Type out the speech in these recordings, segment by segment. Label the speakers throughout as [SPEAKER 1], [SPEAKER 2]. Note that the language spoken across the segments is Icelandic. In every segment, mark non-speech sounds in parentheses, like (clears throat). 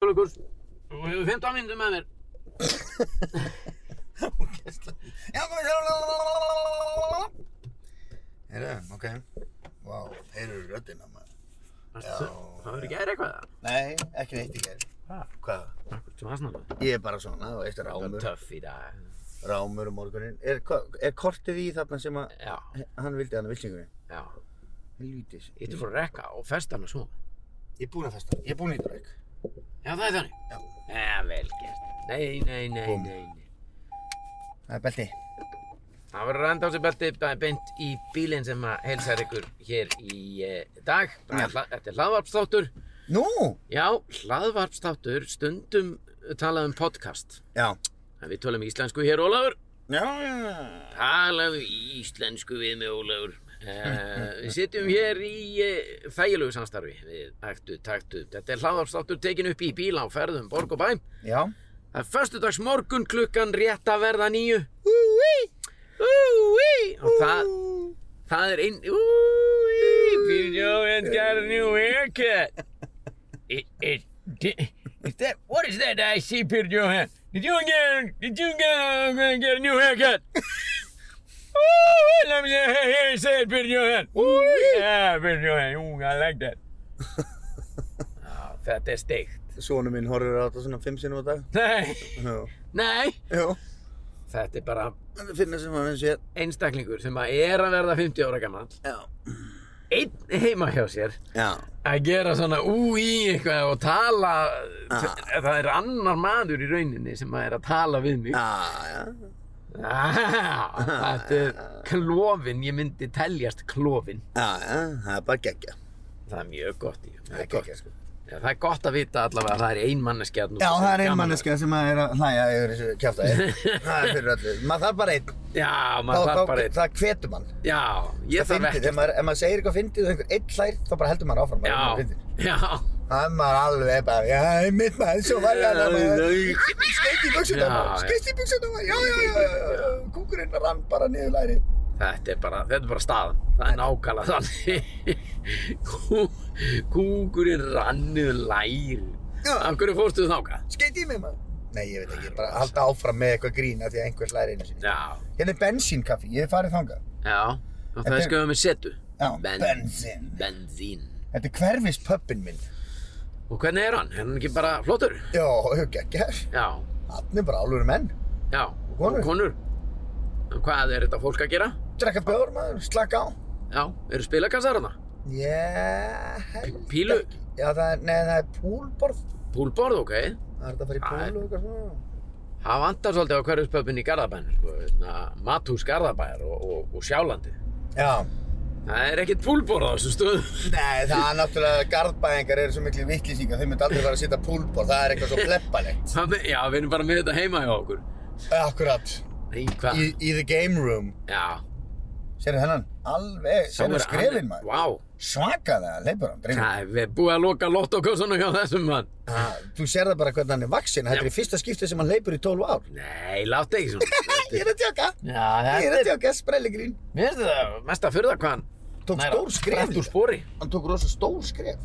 [SPEAKER 1] Þorleikus og hefur 15 myndum með mér
[SPEAKER 2] Ógeðslega. Já, komið þér. Heyrðu, ok. Vá, heyrðu röddina maður.
[SPEAKER 1] Varstu-
[SPEAKER 2] Já.
[SPEAKER 1] Það verður ekki aðeir eitthvað
[SPEAKER 2] Nei, ekki neitt í gerð.
[SPEAKER 1] Ha?
[SPEAKER 2] Hvað?
[SPEAKER 1] Akkur sem aðsnaðu
[SPEAKER 2] Ég er bara svona, þú veist,
[SPEAKER 1] Það er
[SPEAKER 2] rámur.
[SPEAKER 1] töff í dag
[SPEAKER 2] Rámur um morgunin. Er, hva- er kortið í þarna sem að
[SPEAKER 1] Já,
[SPEAKER 2] hann vildi hann að vilsingunni?
[SPEAKER 1] já
[SPEAKER 2] Helvítis.
[SPEAKER 1] Ég ætti að fór að rekka og festa hana svo
[SPEAKER 2] Ég er búinn að festa. Ég er búinn í dræk.
[SPEAKER 1] Já, það er þannig
[SPEAKER 2] Já.
[SPEAKER 1] Já, vel gert Nei, nei, nei,
[SPEAKER 2] Búmm.
[SPEAKER 1] nei, nei
[SPEAKER 2] Það er belti.
[SPEAKER 1] Það verður rand á sig belti bara beint í bílinn sem að helsar ykkur hér í eh, dag. Bara
[SPEAKER 2] Já.
[SPEAKER 1] hla- Þetta er hlaðvarpstáttur.
[SPEAKER 2] Nú!
[SPEAKER 1] Já, hlaðvarpstáttur stundum talað um podcast.
[SPEAKER 2] Já.
[SPEAKER 1] En við tölum íslensku hér, Ólafur.
[SPEAKER 2] Já, já, já.
[SPEAKER 1] Talaðu íslensku við mig, Ólafur. Uh, við sitjum hér í uh, þægilegu samstarfi við Ættu Taktu. Þetta er hlaðvarpstáttur tekin upp í bíla á ferðum Borg og Bæm.
[SPEAKER 2] Já.
[SPEAKER 1] Það er föstudags morgun klukkan rétt að verða nýju Úi, úi, Og það, það er inn Úi, bíljóin got a new haircut It, it, di- is that, what is that I see, Peter Johan? Did you get, did you get, I'm gonna get a new haircut? Ooh, let me hear you say it, Peter Johan. Ooh, yeah, Peter Johan, ooh, I like that. Ah, Já, þetta er steikt.
[SPEAKER 2] Sónu minn horfir á þetta svona fimm sinnum á dag.
[SPEAKER 1] Nei,
[SPEAKER 2] Já.
[SPEAKER 1] nei.
[SPEAKER 2] Já.
[SPEAKER 1] Þetta er bara
[SPEAKER 2] Það finnir sem að minn sér.
[SPEAKER 1] einstaklingur sem að er að verða 50 ára gammal
[SPEAKER 2] Já.
[SPEAKER 1] einn heima hjá sér
[SPEAKER 2] Já.
[SPEAKER 1] að gera svona úi eitthvað og tala
[SPEAKER 2] Ah.
[SPEAKER 1] það er annar maður í rauninni sem að er að tala við mig
[SPEAKER 2] Já, já.
[SPEAKER 1] ah, þetta er klófin ég myndi teljast klófin
[SPEAKER 2] Já, já. Það er bara geggja.
[SPEAKER 1] það er mjög gott í það
[SPEAKER 2] Það
[SPEAKER 1] er
[SPEAKER 2] er
[SPEAKER 1] gott,
[SPEAKER 2] geggja, sko.
[SPEAKER 1] Já, það er gott að vita allavega að það er ein manneskja þarna úti
[SPEAKER 2] Já,
[SPEAKER 1] sem
[SPEAKER 2] það er ein
[SPEAKER 1] gaman að-
[SPEAKER 2] manneska sem að er að hlæja yfir þessu
[SPEAKER 1] (laughs)
[SPEAKER 2] kjáftæði. það er fyrir öllu. Maður þarf bara einn.
[SPEAKER 1] já,
[SPEAKER 2] Þá-
[SPEAKER 1] maður
[SPEAKER 2] þá-
[SPEAKER 1] þarf bara einn
[SPEAKER 2] Það hvetur mann.
[SPEAKER 1] já, ég
[SPEAKER 2] Það
[SPEAKER 1] þarf
[SPEAKER 2] fyndið,
[SPEAKER 1] ekki
[SPEAKER 2] ef maður, ef maður segir eitthvað fyndið og einhver einn hlær, þá bara heldur maður áfram. að maður
[SPEAKER 1] já,
[SPEAKER 2] fyndið.
[SPEAKER 1] já
[SPEAKER 2] Það er maður alveg bara, já, einmitt maður, svo var ég alveg maður. Skeist í buksuna
[SPEAKER 1] Já,
[SPEAKER 2] maður,
[SPEAKER 1] já.
[SPEAKER 2] skeist í buksuna maður, já, já, já, já, já, kúkurinn rann bara niður læri.
[SPEAKER 1] Þetta er bara, þetta er bara staðan. Það er nákvæmlega þannig. (laughs) Kú, kúkurinn rannuð lær.
[SPEAKER 2] Já.
[SPEAKER 1] Af hverju fórstu þú þáka?
[SPEAKER 2] Skeist í mig maður. Nei, ég veit ekki, bara halda áfram með eitthvað grína því að einhver slæri einu sinni.
[SPEAKER 1] Já,
[SPEAKER 2] Hérna er bensínkaffi, ég hef farið þangað.
[SPEAKER 1] já. Og það
[SPEAKER 2] Þetta
[SPEAKER 1] er
[SPEAKER 2] er-
[SPEAKER 1] skjöðum með setu.
[SPEAKER 2] Já,
[SPEAKER 1] Ben-
[SPEAKER 2] bensín.
[SPEAKER 1] Benzín.
[SPEAKER 2] Þetta er hverfis pöppin minn.
[SPEAKER 1] Og hvernig er hann? Er hann ekki bara flottur?
[SPEAKER 2] Já, geggjær.
[SPEAKER 1] Já,
[SPEAKER 2] Hann er bara álur menn.
[SPEAKER 1] já. Og
[SPEAKER 2] konur.
[SPEAKER 1] Og konur. Og hvað er þetta fólk að gera?
[SPEAKER 2] Drekka bjór maður, slaka á.
[SPEAKER 1] Já, eru spilakassar hana?
[SPEAKER 2] Ég held
[SPEAKER 1] Pílu?
[SPEAKER 2] ekki. Já, það er, nei, það er púlborð.
[SPEAKER 1] Púlborð, ok.
[SPEAKER 2] Það er þetta að fara í
[SPEAKER 1] Æ.
[SPEAKER 2] púl og eitthvað svona.
[SPEAKER 1] Það vantar svolítið á hverjuspöpinn í Garðabæn, sko. hérna, Matús Garðabæjar og, og, og Sjálandi.
[SPEAKER 2] Já.
[SPEAKER 1] Það er ekkert púlborð á þessu stöðu.
[SPEAKER 2] Nei, það er náttúrulega, garðbæðingar eru svo miklu vittlýsingar, þeir myndi aldrei fara að setja púlbor, það er eitthvað svo pleppanett.
[SPEAKER 1] Það með- Já, við erum bara með þetta heima hjá okkur.
[SPEAKER 2] Eh, Akkurat,
[SPEAKER 1] Nei, hvað?
[SPEAKER 2] í, í the game room.
[SPEAKER 1] Já.
[SPEAKER 2] Sérðu hennan? Alveg,
[SPEAKER 1] Sá
[SPEAKER 2] sérðu
[SPEAKER 1] er
[SPEAKER 2] skrefin
[SPEAKER 1] hann-
[SPEAKER 2] maður.
[SPEAKER 1] Vá,
[SPEAKER 2] Svakalega, leipur hann, drengur.
[SPEAKER 1] það er búið að loka lottokössunum hjá þessum mann.
[SPEAKER 2] Ha, Ah, Þú sér það bara hvernig hann er vaksin, þetta
[SPEAKER 1] Ah. Já.
[SPEAKER 2] er í fyrsta skiptið sem hann leipur í 12 ár.
[SPEAKER 1] Nei, látt ekki
[SPEAKER 2] (laughs)
[SPEAKER 1] svona.
[SPEAKER 2] Ég er að tjóka,
[SPEAKER 1] Já,
[SPEAKER 2] ég
[SPEAKER 1] þetta
[SPEAKER 2] er
[SPEAKER 1] er...
[SPEAKER 2] að tjóka, sprelligrín.
[SPEAKER 1] Mér finnst þetta mest að fyrða hvað hann...
[SPEAKER 2] Tók
[SPEAKER 1] nær að-
[SPEAKER 2] stór skref
[SPEAKER 1] Brætt úr
[SPEAKER 2] líka.
[SPEAKER 1] spori.
[SPEAKER 2] Hann tók rosa stór skref.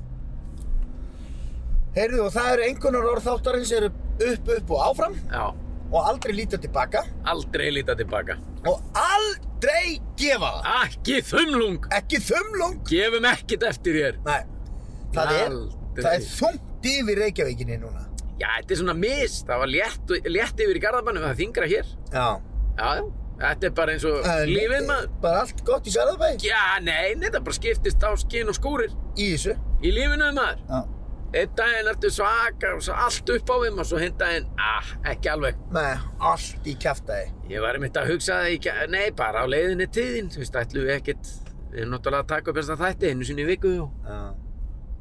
[SPEAKER 2] Heyrðu, og það eru einhvernar orð þáttarins eru upp, upp og áfram
[SPEAKER 1] Já,
[SPEAKER 2] og aldrei líta tilbaka
[SPEAKER 1] aldrei líta tilbaka.
[SPEAKER 2] og aldrei gefa það.
[SPEAKER 1] Ekki þumlung!
[SPEAKER 2] ekki þumlung
[SPEAKER 1] Gefum ekkert eftir þér.
[SPEAKER 2] Nei, það er,
[SPEAKER 1] Aldrei.
[SPEAKER 2] það er þungt yfir Reykjavíkinni núna
[SPEAKER 1] Já, þetta er svona mist. Það var létt, létt yfir í garðabannum, það er þingra hér.
[SPEAKER 2] Já
[SPEAKER 1] Já, já. Þetta er bara eins og
[SPEAKER 2] Það er
[SPEAKER 1] lífið maður.
[SPEAKER 2] Bara allt gott í Særðabæ
[SPEAKER 1] Já, nei, nei, þetta bara skiptist á skinn og skúrir.
[SPEAKER 2] Í þessu
[SPEAKER 1] Í lífinu maður.
[SPEAKER 2] Já
[SPEAKER 1] Einn daginn ertu svaka og svo allt upp á þeim og svo hinn daginn, ah, ekki alveg.
[SPEAKER 2] Nei, allt í kjaftaði
[SPEAKER 1] Ég var einmitt að hugsa það, ekki, nei, bara á leiðinni til þín, þú veist, ætlum við ekkert, við erum náttúrulega að taka upp þessa þætti einu sinni í viku og
[SPEAKER 2] Já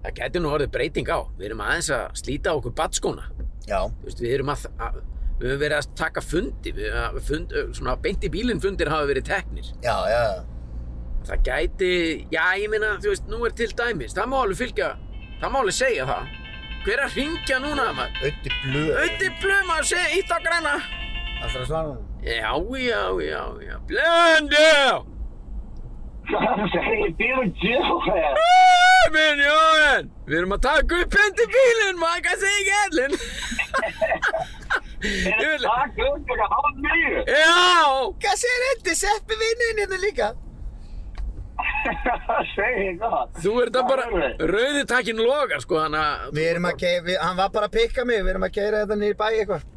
[SPEAKER 1] það gæti nú orðið breyting á. Við erum aðeins að slíta á okkur batskóna,
[SPEAKER 2] Já
[SPEAKER 1] þú veist, við erum að, að við höfum verið að taka fundi, við höfum að fund, svona beint í bílinn fundir hafa verið teknir.
[SPEAKER 2] Já, já
[SPEAKER 1] Það gæti, já, ég meina, þú veist, nú er til dæmis, það má alveg fylgja, það má alveg segja það. Hver er að ringja núna, maður?
[SPEAKER 2] Ötti blöð
[SPEAKER 1] Ötti blöma, segja, ítt á græna.
[SPEAKER 2] Það er að svara hún
[SPEAKER 1] Já, já, já, já. Blöndö!
[SPEAKER 3] I'm saying, Peter Johan. (laughs)
[SPEAKER 1] Minn Jóhann! Við erum að taka upp hindi bílinn, maður kannski ekki ellin.
[SPEAKER 3] Er
[SPEAKER 1] Ég vil-
[SPEAKER 3] það klukkan að hálf nýju? (laughs)
[SPEAKER 1] Já!
[SPEAKER 2] Hvað segir Eddi Seppi vinnin hérna líka?
[SPEAKER 3] Segði það.
[SPEAKER 1] Þú ert að bara,
[SPEAKER 3] alveg.
[SPEAKER 1] rauði takkin logar sko, hann að...
[SPEAKER 2] Við erum að keira, við, hann var bara að pikka mig, við erum að keira þetta niður í bæ eitthvað.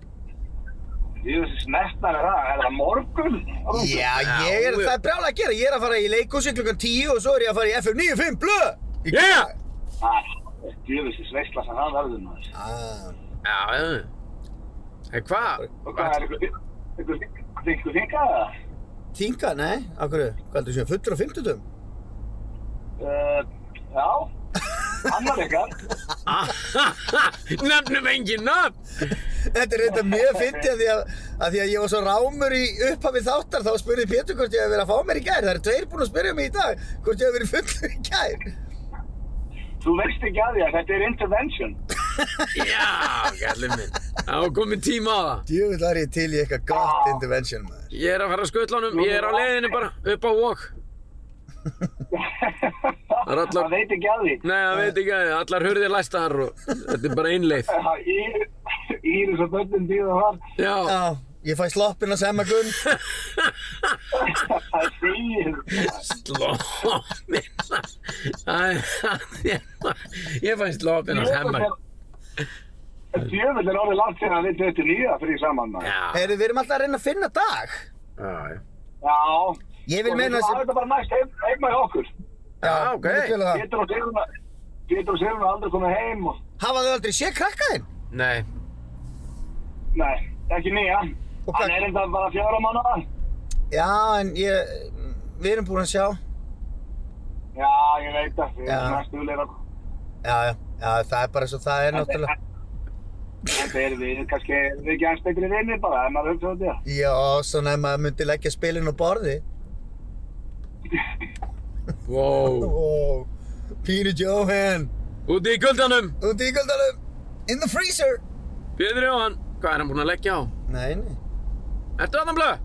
[SPEAKER 3] Jú, þessi snertnar er það. Er það morgun?
[SPEAKER 2] Já, ég er,
[SPEAKER 1] Já,
[SPEAKER 2] það er brjálega að gera, ég er að fara í leikhúsi klukkan 10 og svo er ég að fara í FM 95 blöð. Í-
[SPEAKER 1] Yeah!
[SPEAKER 3] Jú, þessi sveisla Ah, sem það verður maður.
[SPEAKER 2] Ah,
[SPEAKER 1] Já, já. En hvað?
[SPEAKER 3] Og hvað, er ykkur þing- ykkur þing- ykkur þingað það?
[SPEAKER 2] Þinga, nei, af hverju, hvað heldur þú séu, fullur á 50 dum?
[SPEAKER 3] Uh,
[SPEAKER 1] (laughs)
[SPEAKER 3] já, annar ykkar.
[SPEAKER 1] Ah, Nefnum engin nafn!
[SPEAKER 2] Þetta er þetta mjög fyndið að því að, að því að ég var svo rámur í upphafi þáttar þá spurði Pétur hvort ég hef verið að fá mér í gær. Það eru tveir búin að spyrja mig í dag hvort ég hef verið fullur í gær.
[SPEAKER 3] Þú veist ekki að því að þetta er intervention.
[SPEAKER 1] Já, gæli minn. Það var komið tíma á það.
[SPEAKER 2] Djúvill var ég til í eitthvað gott intervention maður.
[SPEAKER 1] Ég er að fara að skutla honum, ég er á leiðinu bara, upp á walk. er allar-
[SPEAKER 3] Það veit ekki að því.
[SPEAKER 1] Nei, það veit ekki að allar hurðir læstar og þetta er bara einleið.
[SPEAKER 3] Það Ír- Íris og börnin býða þar. (laughs)
[SPEAKER 1] Já,
[SPEAKER 2] Já, ég fæ sloppin að semma (laughs) gunn.
[SPEAKER 3] Það segir.
[SPEAKER 1] slópin. Það er það. Ég fæ slópin að hemmar.
[SPEAKER 3] Djöfull er orðið langt síðan við 29 fyrir saman maður.
[SPEAKER 1] Já,
[SPEAKER 2] Heyrðu, við erum alltaf að reyna að finna dag.
[SPEAKER 1] já, já.
[SPEAKER 3] Já.
[SPEAKER 2] Ég vil meina
[SPEAKER 3] þessi... Það
[SPEAKER 2] þessi-
[SPEAKER 3] er þetta bara næst heim- heima í okkur.
[SPEAKER 1] Já, ok.
[SPEAKER 2] ég vil fela það.
[SPEAKER 3] Pétur og Sigrun Pétur og Sigrun hafa aldrei komið heim og...
[SPEAKER 2] Hafa þau aldrei séð krakkaðinn?
[SPEAKER 1] Nei,
[SPEAKER 3] Nei, ekki nýja.
[SPEAKER 2] Og hvað-
[SPEAKER 3] Hann er enda bara fjóra mánuða.
[SPEAKER 2] Já, en ég, við erum búin að sjá.
[SPEAKER 3] Já, ég veit það. Ég
[SPEAKER 2] Já.
[SPEAKER 3] er næstu leira.
[SPEAKER 2] Já, já, já, það er bara svo það er náttúrulega.
[SPEAKER 3] Þetta er við, kannski, erum við ekki aðeins betri vinni bara, ef maður hugsa þetta.
[SPEAKER 2] Já, svona ef maður myndi leggja spilin á borði.
[SPEAKER 1] wow.
[SPEAKER 2] Ó, Peter Johan,
[SPEAKER 1] Úti í kuldanum,
[SPEAKER 2] út í Ígaldalum, in the freezer.
[SPEAKER 1] Pétur Jóhann, hvað er hann búinn að leggja á?
[SPEAKER 2] Nei, nei.
[SPEAKER 1] Ertu aðan blöð?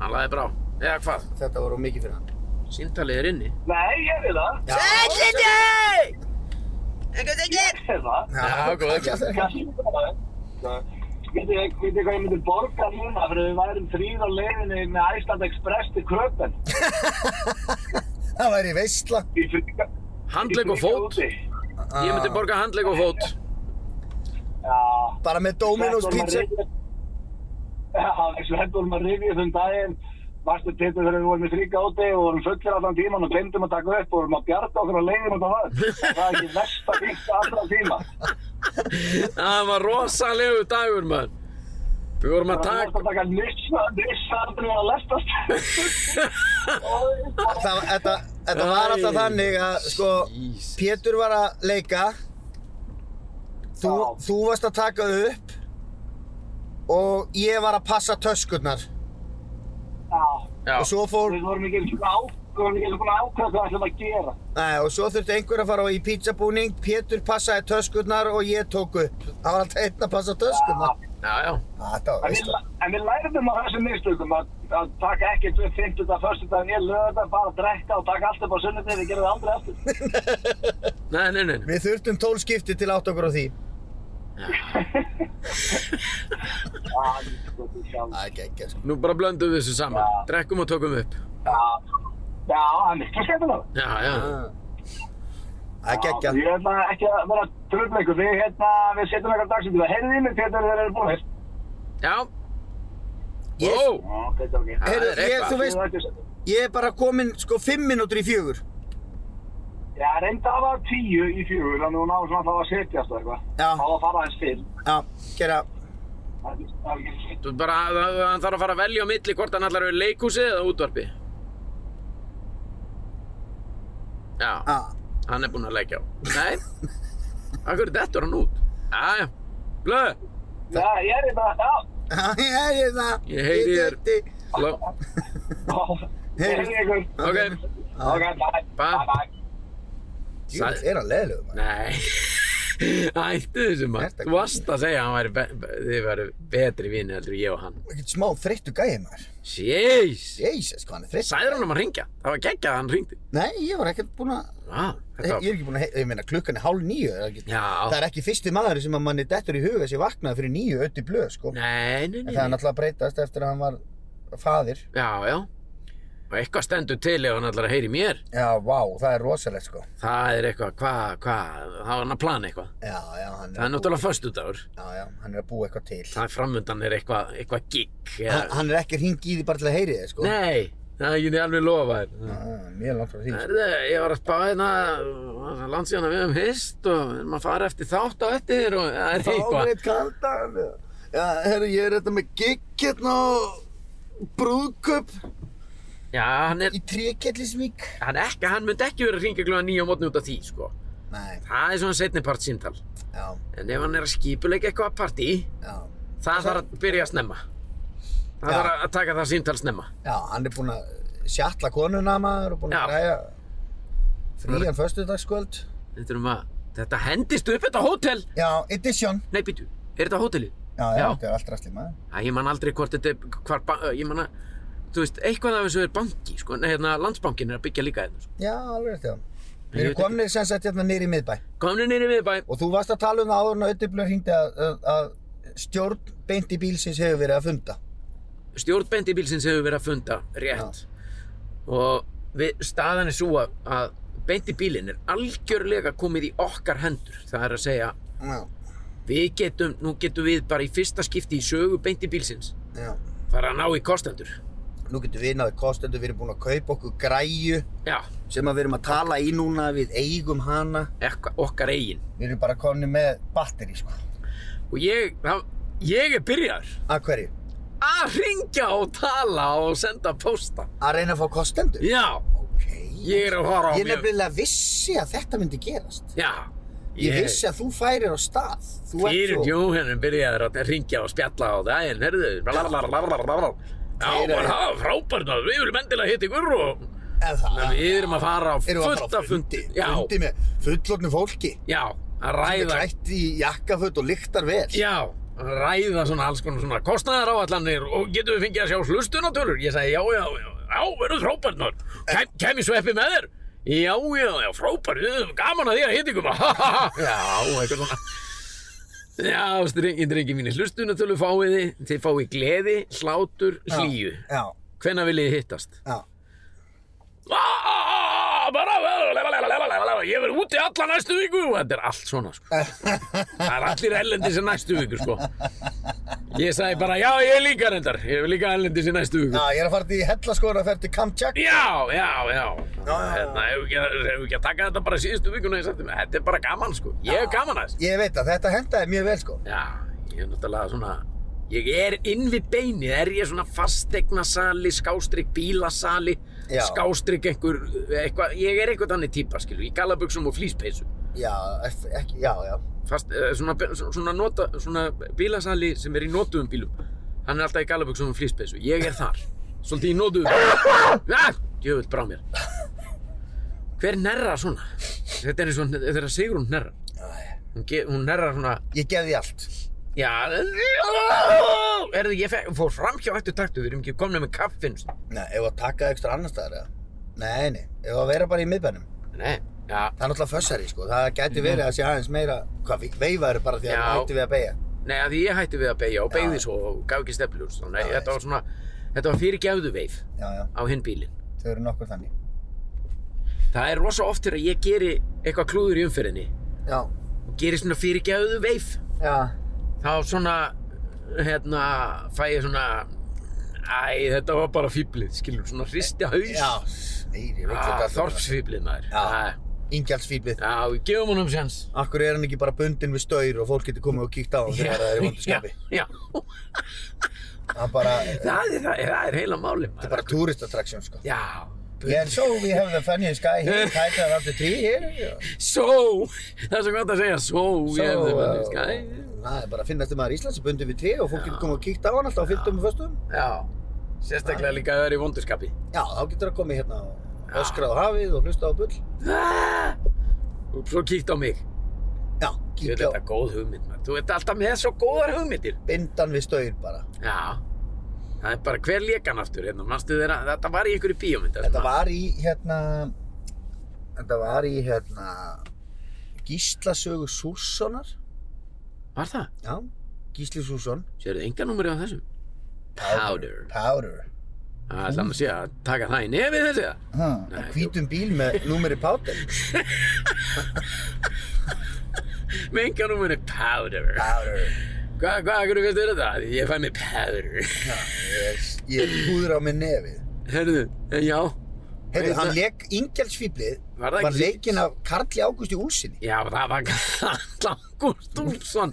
[SPEAKER 1] Hann laði brá, eða hvað?
[SPEAKER 2] Þetta voru mikið fyrir hann.
[SPEAKER 1] Sýntalið er inni.
[SPEAKER 3] Nei, ég vil það.
[SPEAKER 2] Já.
[SPEAKER 1] Sætlindi!
[SPEAKER 3] Ég vil það.
[SPEAKER 1] Já, góð,
[SPEAKER 2] ekki að það.
[SPEAKER 3] Kannski bara. Vitið þið vitið þið hvað ég myndi borga núna fyrir við værum þrýr á leiðinni með Iceland Express til Kröpen.
[SPEAKER 2] (laughs) Það væri veistla.
[SPEAKER 3] Í fríka.
[SPEAKER 1] Handlegg og fót. Ég myndi borga handlegg og fót.
[SPEAKER 3] Já.
[SPEAKER 2] Bara með Domino's pizza.
[SPEAKER 3] Já, þessu hendur vorum að rifja þum daginn. Varstu pittu þegar við vorum í fríka úti og vorum fullir allan tíman og glemdum að taka upp og vorum að bjarga okkur á leiðin út af það. Það er ekki versta fyrsta allra tíma.
[SPEAKER 1] Það var rosalegu dagur, maður. Við vorum að
[SPEAKER 3] Það er
[SPEAKER 1] taka...
[SPEAKER 3] að taka nissa, nissa aldrei að lestast. Oj,
[SPEAKER 2] Það, þetta, þetta var alltaf
[SPEAKER 1] Æ,
[SPEAKER 2] þannig að sko,
[SPEAKER 1] Jesus.
[SPEAKER 2] Pétur var að leika, þú,
[SPEAKER 3] Já.
[SPEAKER 2] þú varst að taka upp og ég var að passa töskurnar.
[SPEAKER 3] Já.
[SPEAKER 1] Já,
[SPEAKER 2] Og svo fór,
[SPEAKER 3] Við vorum ekki eins og á, við vorum ekki eins og búin að ákvæða hvað við ætlum að gera.
[SPEAKER 2] nei, og svo þurfti einhver að fara á í pizzabúning, Pétur passaði töskurnar og ég tók upp. Það var alltaf einn að passa töskurnar. Ah,
[SPEAKER 1] já, já.
[SPEAKER 2] Þetta var
[SPEAKER 3] En við,
[SPEAKER 2] veistla.
[SPEAKER 3] en við lærðum á þessum mistökum að, að taka ekkert við 50 dag, 1. dag, ég lögða bara að drekka og taka allt upp á sunnudegi, við gerum það aldrei
[SPEAKER 2] (laughs)
[SPEAKER 3] eftir.
[SPEAKER 1] Nei, nei, nei. nei.
[SPEAKER 2] Við þurftum tól skipti til átt okkur á því.
[SPEAKER 3] Já, sko, þú sjálf.
[SPEAKER 2] Það er geggja sko.
[SPEAKER 1] Nú bara blöndum við þessu saman. Drekkum og tökum upp.
[SPEAKER 3] Já, já, það er miklu skemmtilega.
[SPEAKER 1] Já, já.
[SPEAKER 2] Það er geggja.
[SPEAKER 3] Ég ætla ekki að vera að tröfla ykkur, við, hérna, við setjum eitthvað dagsinn til það. Heyrðu í mig, Pétur, þeir eru búin.
[SPEAKER 1] Já.
[SPEAKER 2] Ég-
[SPEAKER 1] Ó,
[SPEAKER 3] Já, þetta er ok.
[SPEAKER 1] það
[SPEAKER 2] Heyrðu,
[SPEAKER 1] er
[SPEAKER 2] ég, þú
[SPEAKER 1] eitthvað.
[SPEAKER 2] veist,
[SPEAKER 3] Ég
[SPEAKER 2] ég er bara kominn sko fimm mínútur í fjögur.
[SPEAKER 3] reynda að var tíu í fjögur, þannig að hún náður svona alltaf að setjast og eitthvað.
[SPEAKER 2] Já.
[SPEAKER 3] Það var að fara aðeins fyrr.
[SPEAKER 2] Já, gera.
[SPEAKER 3] Það er- það er ekki-
[SPEAKER 1] Þú bara, hann þarf að fara að velja á milli hvort hann allar er leikhúsið eða útvarpi. Já,
[SPEAKER 2] Já. (laughs)
[SPEAKER 1] hann er búinn að leggja á. Nei, (laughs) akkur þetta er hann út. Jæja, blöð,
[SPEAKER 3] Já, ég er þetta, já.
[SPEAKER 2] Já, ég heyri það.
[SPEAKER 1] Ég heyri þér.
[SPEAKER 2] dætti.
[SPEAKER 1] blöð.
[SPEAKER 3] (laughs) Heyrðu í ykkur.
[SPEAKER 1] Ok,
[SPEAKER 2] Já.
[SPEAKER 3] Ok, bye.
[SPEAKER 1] Bye.
[SPEAKER 3] Bye, bye.
[SPEAKER 2] Jú, er hann leiðilegur maður.
[SPEAKER 1] nei, (laughs) Hættu þessu maður.
[SPEAKER 2] Þetta-
[SPEAKER 1] Þú varst að segja að hann væri be- be- þið væri betri vini heldur en ég og hann.
[SPEAKER 2] Ekkert smá þreyttu gæði maður.
[SPEAKER 1] Jeez.
[SPEAKER 2] Jesus, hvað hann er þreytt.
[SPEAKER 1] Sæður hann um að ringja. Það var geggjað að hann ringdi.
[SPEAKER 2] Nei, ég var ekkert búinn að,
[SPEAKER 1] Já, þetta
[SPEAKER 2] ég
[SPEAKER 1] var...
[SPEAKER 2] er ekki búinn að, he- ég meina klukkan er hálf nýju. Það er ekki, það
[SPEAKER 1] Já.
[SPEAKER 2] er ekki fyrsti maður sem að manni dettur í huga sem vaknaði fyrir nýju ötti blöð, sko.
[SPEAKER 1] Nei, nei,
[SPEAKER 2] En
[SPEAKER 1] nei.
[SPEAKER 2] það er
[SPEAKER 1] nei.
[SPEAKER 2] náttúrulega að breytast eftir að hann var faðir.
[SPEAKER 1] Já, já. Og eitthvað stendur til ef hann ætlar að heyri mér.
[SPEAKER 2] Já, vá, það er rosalegt, sko.
[SPEAKER 1] Það er eitthvað, hvað, hvað, það var hann að plana eitthvað.
[SPEAKER 2] Já, já, hann
[SPEAKER 1] Það er
[SPEAKER 2] er, að búa,
[SPEAKER 1] náttúrulega föstudagur.
[SPEAKER 2] já, já, hann er að búa eitthvað til.
[SPEAKER 1] Það er framundan er eitthvað, eitthvað gig.
[SPEAKER 2] Hann,
[SPEAKER 1] Eða...
[SPEAKER 2] hann er ekki að ringi í því bara til að heyri þið, sko.
[SPEAKER 1] Nei, það er ekki alveg lofa þér.
[SPEAKER 2] Ah, mjög langt frá því, sko.
[SPEAKER 1] Herðu, ég var að spá hérna, það er langt síðan að við höfum hist og við erum að fara eftir þátt á eftir og það er eitthvað.
[SPEAKER 2] Fárið kaldan. Já, herru, ég er þetta með gigg hérna og brúðköp
[SPEAKER 1] Já, hann er,
[SPEAKER 2] í trékjallisvík.
[SPEAKER 1] hann ekki, hann myndi ekki verið að ringa klúan nýja á mótni út af því, sko.
[SPEAKER 2] Nei,
[SPEAKER 1] Það er svona setni part símtal.
[SPEAKER 2] já,
[SPEAKER 1] En ef hann er að skipuleika eitthvað partí,
[SPEAKER 2] já.
[SPEAKER 1] það þarf að byrja að snemma. Það
[SPEAKER 2] Já.
[SPEAKER 1] þarf að taka það símtal snemma.
[SPEAKER 2] Já, hann er búinn að sjatla konuna maður og búinn að
[SPEAKER 1] Já.
[SPEAKER 2] græja frían föstudagskvöld.
[SPEAKER 1] Þetta, um að, þetta hendist upp þetta hótel.
[SPEAKER 2] Já, edition.
[SPEAKER 1] Nei, býtu, er þetta hótelið?
[SPEAKER 2] Já, já,
[SPEAKER 1] Já.
[SPEAKER 2] þetta er allt ræstlið maður.
[SPEAKER 1] Æ, ég man aldrei hvort þetta er, hvar, ba- ég man að, þú veist, eitthvað af þessu er banki, sko, nei, hérna, landsbankin er að byggja líka hérna, sko.
[SPEAKER 2] Já, alveg rétt, já.
[SPEAKER 1] Ég
[SPEAKER 2] Við
[SPEAKER 1] veit
[SPEAKER 2] erum komnir sem sagt hérna niður í miðbæ.
[SPEAKER 1] Komnir niður í miðbæ,
[SPEAKER 2] Og þú varst að tala um það áður en að Ödiblu hringdi að, að- að stjórn beint í bílsins hefur verið að funda.
[SPEAKER 1] stjórnbendi bílsins hefur verið að funda, rétt. Og við, staðan er svo að, að bendi bílinn er algjörlega komið í okkar hendur. Það er að segja,
[SPEAKER 2] Já,
[SPEAKER 1] við getum, nú getum við bara í fyrsta skipti í sögu bendi bílsins,
[SPEAKER 2] já.
[SPEAKER 1] fara að ná í kostendur.
[SPEAKER 2] Nú getum við náðið kostendur, við erum búin að kaupa okkur græju
[SPEAKER 1] Já,
[SPEAKER 2] sem að við erum að tala í núna, við eigum hana.
[SPEAKER 1] ekka, okkar eigin.
[SPEAKER 2] Við erum bara komnir með batteri, sko.
[SPEAKER 1] Og ég, það, ég er byrjar
[SPEAKER 2] Að hverju?
[SPEAKER 1] að ringja og tala og senda posta.
[SPEAKER 2] Að reyna að fá kostendur?
[SPEAKER 1] Já,
[SPEAKER 2] Ok.
[SPEAKER 1] ég er að fara á
[SPEAKER 2] Ég nefnilega vissi að þetta myndi gerast.
[SPEAKER 1] Já,
[SPEAKER 2] Ég vissi að þú færir á stað. Þú ert
[SPEAKER 1] Fyrir
[SPEAKER 2] svo-
[SPEAKER 1] Jóhannum byrjaði að ringja og spjalla á daginn, herðu, blablabla, já,
[SPEAKER 2] Þeir eru-
[SPEAKER 1] bara það var frábært maður, við viljum endilega hitta ykkur og
[SPEAKER 2] Eða það.
[SPEAKER 1] Þannig að við erum að fara á
[SPEAKER 2] Ah, Erum við að
[SPEAKER 1] fullt
[SPEAKER 2] fara á
[SPEAKER 1] af fundi. Já,
[SPEAKER 2] Fundi með fullornu fólki.
[SPEAKER 1] já, að
[SPEAKER 2] Sem er
[SPEAKER 1] ræða,
[SPEAKER 2] klætt í jakkaföt og lyktar vel.
[SPEAKER 1] já, að ræða svona alls konar svona kostnaðaráallanir og getum við fengið að sjá hlustunatölur? Ég sagði, já, já, já, já, verður frábært maður,
[SPEAKER 2] Eh.
[SPEAKER 1] Kem, kem í sveppi með þér? Já, já, já, frábært, við höfum gaman að því að hitta ykkur (laughs) maður.
[SPEAKER 2] Já, eitthvað svona.
[SPEAKER 1] Já, strengi, drengi mínir, hlustunatölu fáið þið, þið fáið gleði, hlátur, hlýju.
[SPEAKER 2] Já,
[SPEAKER 1] Hvenna viljið þið hittast?
[SPEAKER 2] já.
[SPEAKER 1] Ah, bara, ah, ég verð úti alla næstu viku og þetta er allt svona, sko. Það er allir ellendis í næstu viku, sko. Ég sagði bara, já, ég er líka reyndar, ég er líka ellendis í næstu
[SPEAKER 2] Já,
[SPEAKER 1] viku.
[SPEAKER 2] ég er að fara til hellaskóra að ferð til Kamchak.
[SPEAKER 1] Já, já, já.
[SPEAKER 2] Já, já, já.
[SPEAKER 1] Hérna, hefur ekki, hefur ekki að taka þetta bara síðustu vikuna, ég sagði, þetta er bara gaman, sko. Ég hef gaman að þessu.
[SPEAKER 2] Ég veit að þetta hendaði mjög vel, sko.
[SPEAKER 1] Já, ég er náttúrulega svona Ég er inn við beinið, er ég svona fastegnasali, skástrygg bílasali,
[SPEAKER 2] Já.
[SPEAKER 1] skástrygg einhver, eitthva, ég er einhvern þannig típa, skilur, í gallabuxum og flýspeysu.
[SPEAKER 2] Já, eff- ekki, já, já.
[SPEAKER 1] Fast, eh, svona, svona, nota, svona bílasali sem er í notuðum bílum, hann er alltaf í gallabuxum og flýspeysu, ég er þar, svolítið í notuðum bílum. Já, djöfull brá mér. Hver nerra svona? Þetta er eins og þegar Sigrún nerra.
[SPEAKER 2] Æ,
[SPEAKER 1] Hún, ge- hún nerra svona,
[SPEAKER 2] Ég gef því allt.
[SPEAKER 1] Já, erðu, ég fekk, fór fram hjá eftir taktu, við erum ekki komna með kaffin. sko.
[SPEAKER 2] Nei, ef að taka ekstra annar staðar, eða? Nei, nei, ef að vera bara í miðbænum.
[SPEAKER 1] Nei, já,
[SPEAKER 2] Það er náttúrulega fössari, sko. Það gæti verið að sé aðeins meira, hvað, veifaður bara því að
[SPEAKER 1] Já.
[SPEAKER 2] það hætti við að beigja.
[SPEAKER 1] nei, að því ég hætti við að beigja og
[SPEAKER 2] Já.
[SPEAKER 1] beigði svo og gaf ekki stefniljós. Nei,
[SPEAKER 2] Já,
[SPEAKER 1] þetta
[SPEAKER 2] já.
[SPEAKER 1] var svona, þetta var fyrirgefðu veif
[SPEAKER 2] Já, já,
[SPEAKER 1] á hinn bílinn.
[SPEAKER 2] þau eru nokkur þannig.
[SPEAKER 1] Það er rosa oft þegar ég geri eitthvað klúður í umferðinni
[SPEAKER 2] Já,
[SPEAKER 1] og geri svona fyrirgefðu veif.
[SPEAKER 2] já,
[SPEAKER 1] Þá svona, hérna, fæ ég svona, æ, þetta var bara fýblið, skilur, svona hristi haus.
[SPEAKER 2] já, snýri, veit
[SPEAKER 1] Ah,
[SPEAKER 2] þetta.
[SPEAKER 1] Þorpsfýblið maður.
[SPEAKER 2] Já.
[SPEAKER 1] Ah,
[SPEAKER 2] Ingjaldsfýblið.
[SPEAKER 1] Já, við gefum honum sjans.
[SPEAKER 2] Akkur er hann ekki bara bundin við staur og fólk getur komið og kíkt á hann þegar það er í vondu skapi.
[SPEAKER 1] (laughs) Já, já.
[SPEAKER 2] Hann bara, þetta
[SPEAKER 1] Það er, það er, það er heila máli maður.
[SPEAKER 2] er bara túristattraksjón, sko.
[SPEAKER 1] Já.
[SPEAKER 2] Yeah, and so we have the funniest
[SPEAKER 1] (laughs)
[SPEAKER 2] guy here, tied around the tree here. yeah.
[SPEAKER 1] So, það er svo gott að segja so,
[SPEAKER 2] So,
[SPEAKER 1] ég hefði maður,
[SPEAKER 2] uh, Það er bara að finnast um aðra í Íslands, bundið við tré og fólk getur komið og kíkt á hann alltaf á fylgdum og föstum.
[SPEAKER 1] Já, sérstaklega líka að það er í vondurskapi.
[SPEAKER 2] Já, þá getur það komið hérna og öskrað á hafið og hlusta á bull.
[SPEAKER 1] Ah! Og svo kíkt á mig.
[SPEAKER 2] Já,
[SPEAKER 1] Ég veit
[SPEAKER 2] kíkja
[SPEAKER 1] þetta er góð hugmynd, maður. Þú ert alltaf með svo góðar hugmyndir.
[SPEAKER 2] bindan við staur bara.
[SPEAKER 1] Já. Það er bara hver leikan aftur hérna. Manstu þeirra, þetta var í einhverju bíómynd.
[SPEAKER 2] Þetta var í hérna, þetta var í hérna, Gíslasögu Sússonar.
[SPEAKER 1] Var það?
[SPEAKER 2] Já, Gísli Sússon.
[SPEAKER 1] Sérðu enga númeri á þessum? Powder.
[SPEAKER 2] Powder.
[SPEAKER 1] Það er hann að sé að taka það í nefið þessi það.
[SPEAKER 2] Hmm,
[SPEAKER 1] Nei,
[SPEAKER 2] hvítum bíl með númeri Powder.
[SPEAKER 1] Með enga númeri powder.
[SPEAKER 2] Powder.
[SPEAKER 1] Hvað, hvað, hvernig finnst þér þetta? Ég fæ mér powder.
[SPEAKER 2] Já, ég, ég er húður á mig nefið.
[SPEAKER 1] Herðu, en eh, já.
[SPEAKER 2] Heyrðu,
[SPEAKER 1] Veit
[SPEAKER 2] hann
[SPEAKER 1] það-
[SPEAKER 2] leik Ingjaldsfýblið,
[SPEAKER 1] Var
[SPEAKER 2] var,
[SPEAKER 1] það
[SPEAKER 2] var
[SPEAKER 1] ekki-
[SPEAKER 2] leikinn af Karli Ágústi Úlsinni.
[SPEAKER 1] Já, það var Langur Stúlsson.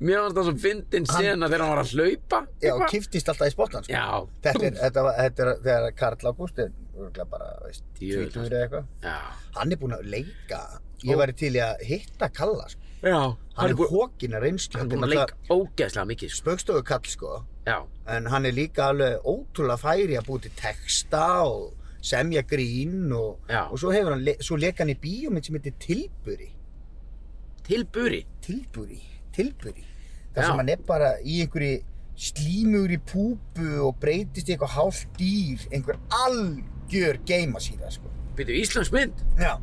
[SPEAKER 1] Mér varst það svo fyndin
[SPEAKER 2] Hann-
[SPEAKER 1] sena þegar hann var að hlaupa.
[SPEAKER 2] Já, og
[SPEAKER 1] eitthvað.
[SPEAKER 2] kiftist alltaf í spotlan, sko.
[SPEAKER 1] Já,
[SPEAKER 2] Þetta er, þetta, var, þetta er þegar Karl Ágúst er örugglega bara, veist,
[SPEAKER 1] Djöfull,
[SPEAKER 2] tvítur eða eitthvað.
[SPEAKER 1] já.
[SPEAKER 2] Hann er búinn að leika, ég
[SPEAKER 1] Ó.
[SPEAKER 2] væri til í að hitta Kalla, sko.
[SPEAKER 1] Já,
[SPEAKER 2] Hann er
[SPEAKER 1] bú-
[SPEAKER 2] hókinn að reynslu.
[SPEAKER 1] hann er búinn að leika ógeðslega mikið, sko.
[SPEAKER 2] Spöggstofu Kall, sko.
[SPEAKER 1] Já,
[SPEAKER 2] En hann er líka alveg ótrúlega færi að búi til texta og semja grín og,
[SPEAKER 1] Já.
[SPEAKER 2] og svo hefur hann, le- svo leika hann í bíómynd sem heitir Tilburi.
[SPEAKER 1] til buri.
[SPEAKER 2] tilbúri, tilbúri þar
[SPEAKER 1] Já.
[SPEAKER 2] sem hann er bara í einhverju slímur í púpu og breytist í eitthvað hálft dýr einhver algjör geima síðan sko.
[SPEAKER 1] Býtu, Íslands mynd.
[SPEAKER 2] já,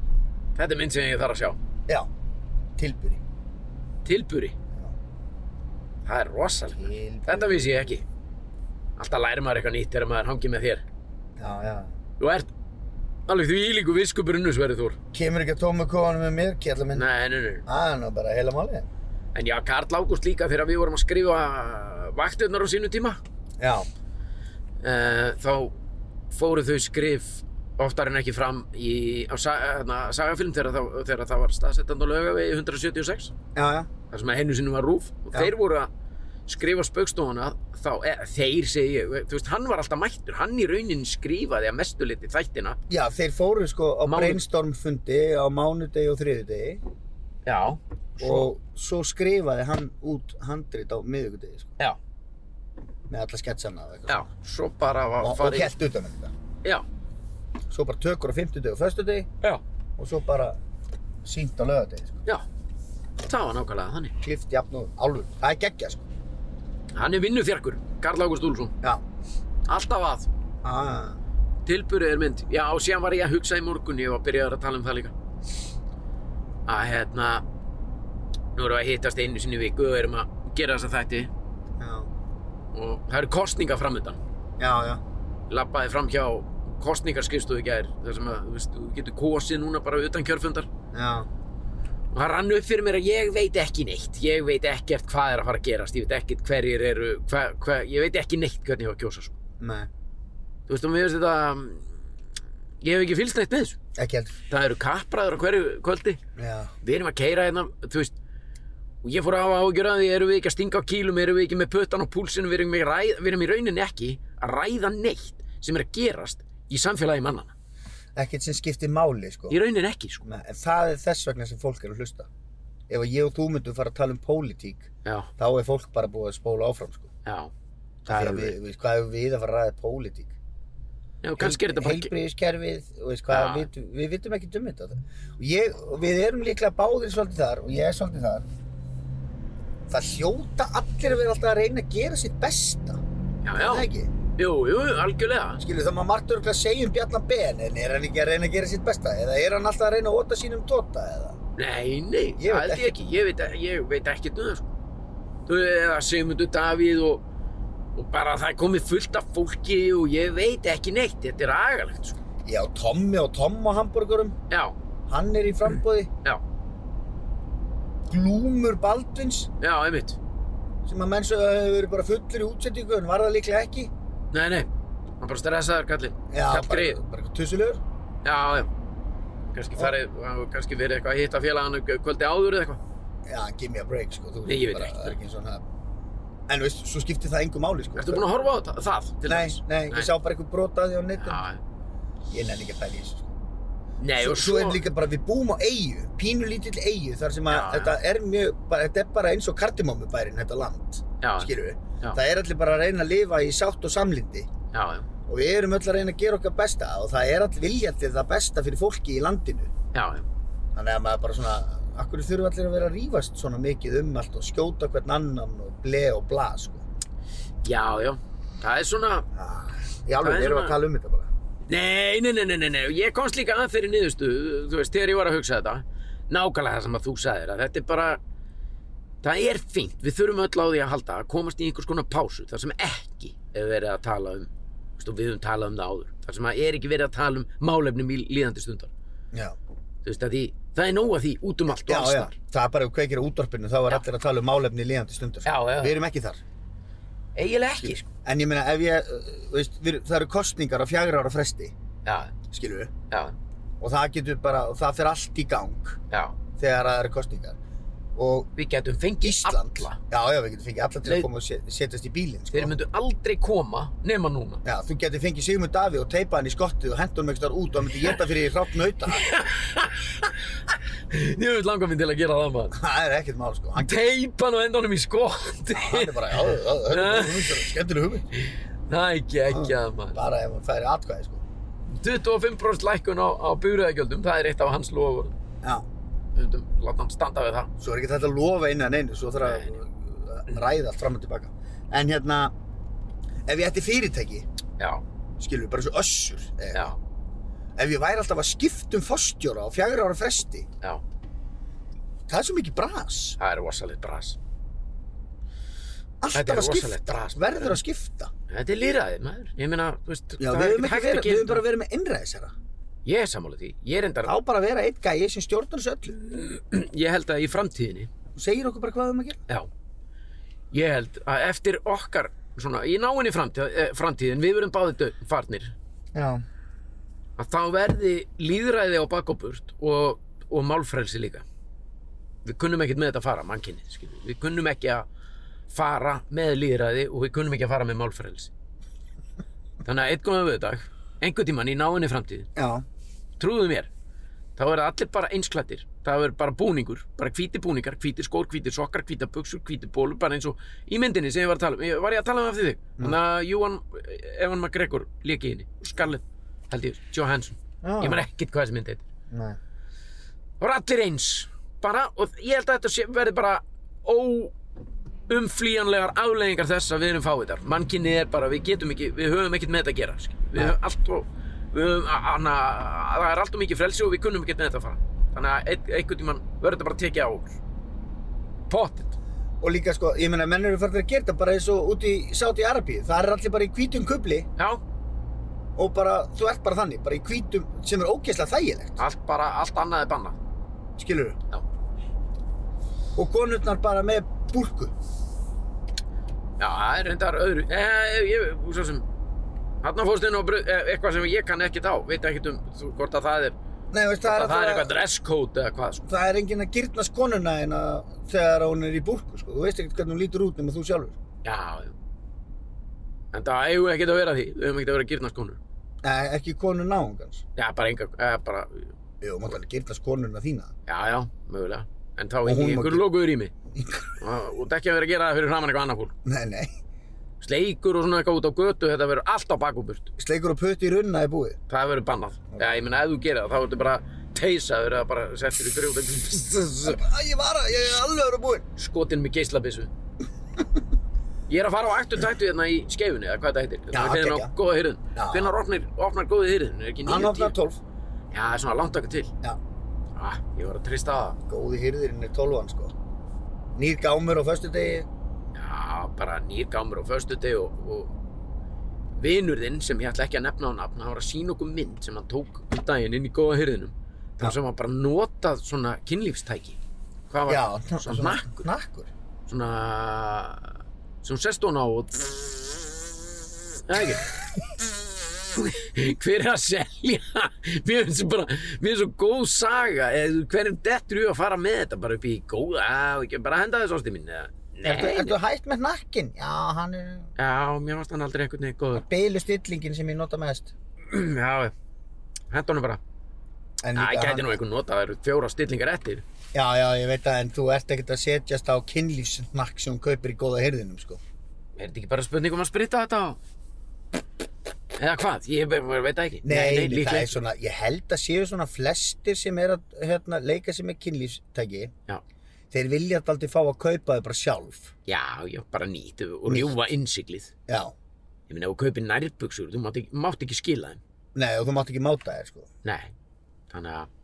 [SPEAKER 1] Þetta er mynd sem ég þarf að sjá.
[SPEAKER 2] já, tilbúri
[SPEAKER 1] Tilburi. Það er rosalega.
[SPEAKER 2] Tilburi.
[SPEAKER 1] Þetta vissi ég ekki. Alltaf læri maður eitthvað nýtt þegar maður hangið með þér.
[SPEAKER 2] já, já
[SPEAKER 1] Þú ert alveg því líku viskupur unnus verið þú.
[SPEAKER 2] kemur ekki að tóma kóðanum með mér, kjallar minn
[SPEAKER 1] Nei, nei, nei.
[SPEAKER 2] það er nú bara heila málið
[SPEAKER 1] En já, Karl Ágúst líka þegar við vorum að skrifa vaktirnar á sínu tíma.
[SPEAKER 2] já,
[SPEAKER 1] Eh, þá fóru þau skrif oftar en ekki fram í, á sa, na, sagafilm þegar, þá, þegar það var staðsettand á laugavegi 176
[SPEAKER 2] já, já,
[SPEAKER 1] þar sem að hennu sinni var rúf og
[SPEAKER 2] Já.
[SPEAKER 1] þeir voru að skrifa spaukstofuna þá, e, þeir segi ég, þú veist, hann var alltaf mættur hann í raunin skrifaði að mestu liti þættina
[SPEAKER 2] já, þeir fóru sko á
[SPEAKER 1] Mánu-
[SPEAKER 2] brainstormfundi á mánudegi og þriðudegi
[SPEAKER 1] Já,
[SPEAKER 2] og svo skrifaði hann út handrit á miðugudegi sko,
[SPEAKER 1] já,
[SPEAKER 2] með alla sketsana og eitthvað
[SPEAKER 1] já svo bara var
[SPEAKER 2] og, og helt utan um þetta
[SPEAKER 1] Já,
[SPEAKER 2] svo bara tökur á 50 og 1. deg
[SPEAKER 1] já,
[SPEAKER 2] og svo bara sínt á lögadegi sko.
[SPEAKER 1] já það var nákvæmlega þannig
[SPEAKER 2] klift jafn og álfur, það er geggja sko.
[SPEAKER 1] hann er vinnufjarkur, Karl Ágúst Úlfsson
[SPEAKER 2] já
[SPEAKER 1] alltaf að
[SPEAKER 2] ah.
[SPEAKER 1] Tilburið er mynd. Já, síðan var ég að hugsa í morgun, ég var byrjaður að tala um það líka. Að hérna, nú erum við að hittast einu sinni í viku og erum að gera þessa þætti
[SPEAKER 2] já.
[SPEAKER 1] og það eru kostninga framöndan.
[SPEAKER 2] já, já,
[SPEAKER 1] Lappaði fram hjá kostningarskrifstofu í gær, þar sem að, þú veist, þú getur kosið núna bara utan kjörfundar.
[SPEAKER 2] já
[SPEAKER 1] Og það rann upp fyrir mér að ég veit ekki neitt, ég veit ekkert hvað er að fara að gerast, ég veit ekkert hverjir eru, hva, hva, ég veit ekki neitt hvernig ég var að kjósa svo.
[SPEAKER 2] nei,
[SPEAKER 1] Þú veist, og mér finnst þetta, ég hef ekki fylgst neitt með þessu.
[SPEAKER 2] ekki heldur
[SPEAKER 1] Það eru kappræður á hverju kvöldi.
[SPEAKER 2] já,
[SPEAKER 1] við erum að keira hérna, þú veist og ég fór að hafa ágjör að því, erum við ekki að stinga á kýlum erum við ekki með puttan á púlsinu við erum, ekki að ræða, við erum í rauninni ekki að ræða neitt sem er að gerast í samfélagi mannana
[SPEAKER 2] ekkert sem skiptir máli sko.
[SPEAKER 1] í rauninni ekki, sko
[SPEAKER 2] nei, en það er þess vegna sem fólk er að hlusta ef að ég og þú myndum fara að tala um pólitík
[SPEAKER 1] já,
[SPEAKER 2] þá er fólk bara búið að spóla áfram sko.
[SPEAKER 1] já, það
[SPEAKER 2] Því
[SPEAKER 1] er
[SPEAKER 2] að
[SPEAKER 1] við
[SPEAKER 2] við, við, hvað er við að fara að ræða pólitík
[SPEAKER 1] já, kannski er þetta bara ekki
[SPEAKER 2] heilbríðiskerfið og veist hvað,
[SPEAKER 1] Ja.
[SPEAKER 2] við, við vitum ekki um þetta og ég, og við erum líklega báðir svolítið þar og ég er svolítið þar það hljóta allir að vera alltaf að reyna að gera sitt besta
[SPEAKER 1] já,
[SPEAKER 2] er það
[SPEAKER 1] já,
[SPEAKER 2] ekki?
[SPEAKER 1] jú, jú, algjörlega
[SPEAKER 2] skilur það maður margt örgulega segja um Bjarnar Ben en er hann ekki að reyna að gera sitt besta eða er hann alltaf að reyna að óta sínum tóta eða
[SPEAKER 1] nei, nei,
[SPEAKER 2] Ég
[SPEAKER 1] það
[SPEAKER 2] veit
[SPEAKER 1] held ég ekki ég veit, ég veit ekki um það, sko þú veist, eða Sigmundur Davíð og og bara það er komið fullt af fólki og ég veit ekki neitt, þetta er agalegt, sko
[SPEAKER 2] já, Tommi og Tom á hamburgurum
[SPEAKER 1] já,
[SPEAKER 2] hann er í frambóði
[SPEAKER 1] já,
[SPEAKER 2] Glúmur Baldvins
[SPEAKER 1] já, einmitt
[SPEAKER 2] sem að menn svo hefur verið bara fullur í útsendingu en var það líklega ekki
[SPEAKER 1] Nei, nei, hann bara stressaður kallinn.
[SPEAKER 2] já, bara,
[SPEAKER 1] Kallgreyið.
[SPEAKER 2] bara tussulegur
[SPEAKER 1] Já, já. Kannski farið, hann hefur kannski verið eitthvað að hitta félagana kvöldi áður eða eitthvað.
[SPEAKER 2] Já, give me a break, sko. Þú
[SPEAKER 1] Nei, ég veit
[SPEAKER 2] bara-
[SPEAKER 1] ekki.
[SPEAKER 2] Það er ekki eins og hann að... En veist, svo skiptir það engum máli, sko.
[SPEAKER 1] Ertu búinn að horfa á þetta? Það, til
[SPEAKER 2] Nei,
[SPEAKER 1] dæmis?
[SPEAKER 2] nei, ég sá bara eitthvað brotaði á netinu.
[SPEAKER 1] Já,
[SPEAKER 2] Ég nenni ekki að pæla í þessu, sko.
[SPEAKER 1] nei,
[SPEAKER 2] svo,
[SPEAKER 1] og
[SPEAKER 2] svo er líka bara, við búum á eigu, pínulítill eigu, þar sem að
[SPEAKER 1] Já, já.
[SPEAKER 2] þetta er mjög, bara, þetta er bara eins og kardimómubærin, þetta land,
[SPEAKER 1] Já, já,
[SPEAKER 2] skilur við.
[SPEAKER 1] Já.
[SPEAKER 2] Það er allir bara að reyna að lifa í sátt og samlindi
[SPEAKER 1] já,
[SPEAKER 2] og við erum öll að reyna að gera okkar besta og það er allir viljandi það besta fyrir fólki í landinu.
[SPEAKER 1] já, já.
[SPEAKER 2] Þannig að maður bara svona, Akkur þurfa allir að vera að rífast svona mikið um allt og skjóta hvern annan og ble og bla, sko.
[SPEAKER 1] Já, já. Það er svona...
[SPEAKER 2] Ah, Í
[SPEAKER 1] Það
[SPEAKER 2] alveg,
[SPEAKER 1] er
[SPEAKER 2] erum við
[SPEAKER 1] svona-
[SPEAKER 2] að tala um þetta bara.
[SPEAKER 1] Nei, nei, nei, nei, nei, nei. Ég komst líka að þeirri niðurstu, þú veist, þegar ég var að hugsa þetta. Nákvæmlega það sem að þú sagðir, að þetta er bara... Það er fínt, við þurfum öll á því að halda að komast í einhvers konar pásu, þar sem ekki er verið að tala um, þú veist, og við höfum talað um það áður, þar sem að er ekki verið að tala um málefnum í líðandi stundar.
[SPEAKER 2] Já,
[SPEAKER 1] Þú veist, að því, það er nóg að því út um allt og
[SPEAKER 2] já,
[SPEAKER 1] alls
[SPEAKER 2] já.
[SPEAKER 1] þar.
[SPEAKER 2] Það er bara ef kveikir á útvarpinu, þá er
[SPEAKER 1] Já.
[SPEAKER 2] allir að tala um málefni í líðandi stundur.
[SPEAKER 1] Já, já.
[SPEAKER 2] Við erum ekki þar.
[SPEAKER 1] Eiginlega ekki, sko.
[SPEAKER 2] En ég meina, ef ég, uh, veist, við, það eru kostningar á fjagra ára fresti,
[SPEAKER 1] Já,
[SPEAKER 2] skilur við,
[SPEAKER 1] já,
[SPEAKER 2] og það getur bara, og það fer allt í gang
[SPEAKER 1] já.
[SPEAKER 2] þegar það eru kostningar. Og
[SPEAKER 1] Við getum fengið
[SPEAKER 2] Ísland,
[SPEAKER 1] alla.
[SPEAKER 2] já, já, við getum fengið alla til
[SPEAKER 1] Nei.
[SPEAKER 2] að koma og set- setjast í bílinn, sko.
[SPEAKER 1] Þeir myndu aldrei koma nema núna. (laughs)
[SPEAKER 2] Já, þú getur fengið Sigmund Davíð og teipað hann í skottið og hendur hann einhvers þar út og hann myndi geta fyrir hrátt nauta.
[SPEAKER 1] Ég vil langa minn til að gera það maður.
[SPEAKER 2] Það er ekkert mál, sko. Hann,
[SPEAKER 1] Teipan og endanum í skotti.
[SPEAKER 2] (laughs) hann er bara, já, já, já, þetta er hugmynd, skemmtileg hugmynd.
[SPEAKER 1] Það er ekki ekki að maður.
[SPEAKER 2] Bara ef hann færi atkvæði, sko.
[SPEAKER 1] 25% lækkun á, á búriðagjöldum, það er eitt af hans lofur.
[SPEAKER 2] Já,
[SPEAKER 1] Undum, láta hann standa við það.
[SPEAKER 2] svo er ekki þetta að lofa einu en einu, svo þarf að ræða allt fram og tilbaka. En hérna, ef ég ætti fyrirtæki,
[SPEAKER 1] Já,
[SPEAKER 2] skilur við, bara eins og össur,
[SPEAKER 1] já,
[SPEAKER 2] eh, ef ég væri alltaf að skipta um fórstjóra á fjagra ára fresti,
[SPEAKER 1] já.
[SPEAKER 2] það er svo mikið bras.
[SPEAKER 1] Það er rosalegt bras. Þetta er
[SPEAKER 2] Alltaf að
[SPEAKER 1] rosalegt
[SPEAKER 2] skipta,
[SPEAKER 1] bras.
[SPEAKER 2] verður að skipta.
[SPEAKER 1] Þetta er lýraðið maður. Ég meina, þú veist,
[SPEAKER 2] Já,
[SPEAKER 1] það
[SPEAKER 2] við
[SPEAKER 1] er
[SPEAKER 2] höfum
[SPEAKER 1] ekkert
[SPEAKER 2] ekki
[SPEAKER 1] hægt
[SPEAKER 2] verið,
[SPEAKER 1] að
[SPEAKER 2] við
[SPEAKER 1] gera
[SPEAKER 2] höfum bara verið með innræðisherra.
[SPEAKER 1] Ég er sammála því. Ég er endar,
[SPEAKER 2] Á bara að vera einn gæi sem stjórnar þessu öllu
[SPEAKER 1] ég held að í framtíðinni,
[SPEAKER 2] og segir okkur bara hvað við höfum að gera.
[SPEAKER 1] já, ég held að eftir okkar, svona, í náinni framtíð, eh, framtíðin, við verum báðið döð, farnir,
[SPEAKER 2] Já.
[SPEAKER 1] að þá verði líðræði á bakopurt og, og málfrelsi líka við kunnum ekkert með þetta að fara mannkinni, skilur. við kunnum ekki að fara með líðræði og við kunnum ekki að fara með málfrelsi þannig að einn góðan vöðdag einhvern tímann í náinni framtíð
[SPEAKER 2] Já.
[SPEAKER 1] trúðu mér, þá verða allir bara einsklættir það verður bara búningur, bara hvíti búningar hvíti skór, hvíti sokkar, hvíti buksur, hvíti bólur bara eins og í myndinni sem ég var að tala um Ég- var ég að tala um eftir þig, þannig að Johan eh, Evan McGregor lék í henni Scarlett, held ég, Johansson
[SPEAKER 2] Já.
[SPEAKER 1] ég man ekkert hvað þessi mynd heitir
[SPEAKER 2] Nei.
[SPEAKER 1] það voru allir eins, bara og ég held að þetta sé- verði bara óumflýjanlegar afleggingar þess að við erum fáiðar mannkinni er bara, við getum ekki, við höfum ekkert með þetta að gera skil. við höfum allt og við höfum, a- hana, það er allt og mikið frelsi og við kunnum ekkert með þetta að fara þannig að ein- einhvern tímann verður þetta bara að tekið á okkur pottit
[SPEAKER 2] Og líka sko, ég meina menn eru farnir að gera þetta bara eins og út í Saudi Arabíu. Það er allir bara í hvítum kubli
[SPEAKER 1] já,
[SPEAKER 2] og bara, þú ert bara þannig, bara í hvítum sem er ógeðslega þægilegt,
[SPEAKER 1] allt bara, allt annað er bannað
[SPEAKER 2] skilur
[SPEAKER 1] Já.
[SPEAKER 2] Og konurnar bara með búrku.
[SPEAKER 1] Já, það er reyndar öðru eh, ég, Svo sem Hanna fórst inn á bröð, eh, eitthvað sem ég kann ekkert á Veit ekkert um þú, hvort að það er
[SPEAKER 2] Nei, veist, það
[SPEAKER 1] Það, það
[SPEAKER 2] er,
[SPEAKER 1] er
[SPEAKER 2] alltaf-
[SPEAKER 1] eitthvað dresscode eða hvað sko.
[SPEAKER 2] Það er enginn að gyrnast konuna en að þegar hún er í búrku, sko. Þú veist ekkert hvernig hún lítur út nema þú sjálfur.
[SPEAKER 1] Já, já En það eigum við ekkert að vera því Við höfum ekkert að vera gyrnarskónur
[SPEAKER 2] Nei, ekki konu náungans.
[SPEAKER 1] Já, bara enga, eh, bara
[SPEAKER 2] Jú, maður alveg gyrnast konuna þína. (laughs)
[SPEAKER 1] Já, já, mögulega En þá
[SPEAKER 2] Og
[SPEAKER 1] í
[SPEAKER 2] hún má
[SPEAKER 1] einhverju
[SPEAKER 2] gera-
[SPEAKER 1] lókuður í mig Og þetta ekki að vera að gera það fyrir framann eitthvað annað fólk
[SPEAKER 2] Nei, nei.
[SPEAKER 1] Sleikur og svona eitthvað út á götu Þetta verður allt á bakúburt
[SPEAKER 2] Sleikur og putti í runna er búið.
[SPEAKER 1] Það verður bannað Já, ég meina, ef þú gerir það Þá ertu bara teysaður eða bara settur í grjóta
[SPEAKER 2] Æ, ég var að, ég er alveg að vera búinn.
[SPEAKER 1] skotinn með geislabissu Ég er að fara á ættu tættu hérna í skeifunni eða hvað þetta heitir
[SPEAKER 2] Já,
[SPEAKER 1] Við hliðina á
[SPEAKER 2] geggjað.
[SPEAKER 1] góða hýrðin
[SPEAKER 2] Já.
[SPEAKER 1] Hvenær opnar, opnar góða hýrðin? Er ekki
[SPEAKER 2] Hann
[SPEAKER 1] nýju
[SPEAKER 2] opnar 12.
[SPEAKER 1] Já, það er svona langt okkur til
[SPEAKER 2] Já.
[SPEAKER 1] ah, Ég var að trista það
[SPEAKER 2] Góði hýrðirinn er 12 sko. Nýr gámur á föstudegi.
[SPEAKER 1] Já, bara nýr gámur á föstudeg og, og vinur þinn sem ég ætla ekki að nefna á nafn hann var að sína okkur mynd sem hann tók um daginn inn í góða hýrðinum
[SPEAKER 2] Já.
[SPEAKER 1] þar sem hann bara notað svona kynlífstæki Hvað var
[SPEAKER 2] Já,
[SPEAKER 1] það? Svona hnakkur
[SPEAKER 2] Nakkur.
[SPEAKER 1] Svona sem hún sest hún á og Nei, ekki hver er að selja mér finnst bara, mér finnst svo góð saga eða hver er dettur í að fara með þetta bara upp í góða, á, ekki, bara henda þessu ástu mín eða,
[SPEAKER 2] Ertu,
[SPEAKER 1] nei, nei.
[SPEAKER 2] ertu hætt með nakkin? Já, hann er
[SPEAKER 1] já, mér varst hann aldrei einhvern veginn góður (clears throat)
[SPEAKER 2] beilu stillingin sem ég nota mest.
[SPEAKER 1] já, henda honum bara
[SPEAKER 2] En
[SPEAKER 1] það
[SPEAKER 2] líka
[SPEAKER 1] gæti nú einhvern nota, það eru fjóra stillingar eftir
[SPEAKER 2] Já, já, ég veit það, en þú ert ekkert að setjast á kynlífsnakk sem hún kaupir í góða hýrðinum, sko.
[SPEAKER 1] er þetta ekki bara spurning um að spritta þetta á Eða hvað? Ég be- be- veit það ekki.
[SPEAKER 2] Nei, nei, það
[SPEAKER 1] líklega
[SPEAKER 2] er svona, ég held að séu svona flestir sem er að hérna, leika sér með kynlífstæki,
[SPEAKER 1] Já.
[SPEAKER 2] þeir vilja aldrei fá að kaupa þau bara sjálf.
[SPEAKER 1] Já, já, bara nýtt og rjúfa innsiglið.
[SPEAKER 2] Já,
[SPEAKER 1] Ég meina, ef þú kaupir nærbuksur, þú mátt ekki, mátt ekki skila þeim.
[SPEAKER 2] nei og þú mátt ekki máta þér sko.
[SPEAKER 1] Nei, þannig að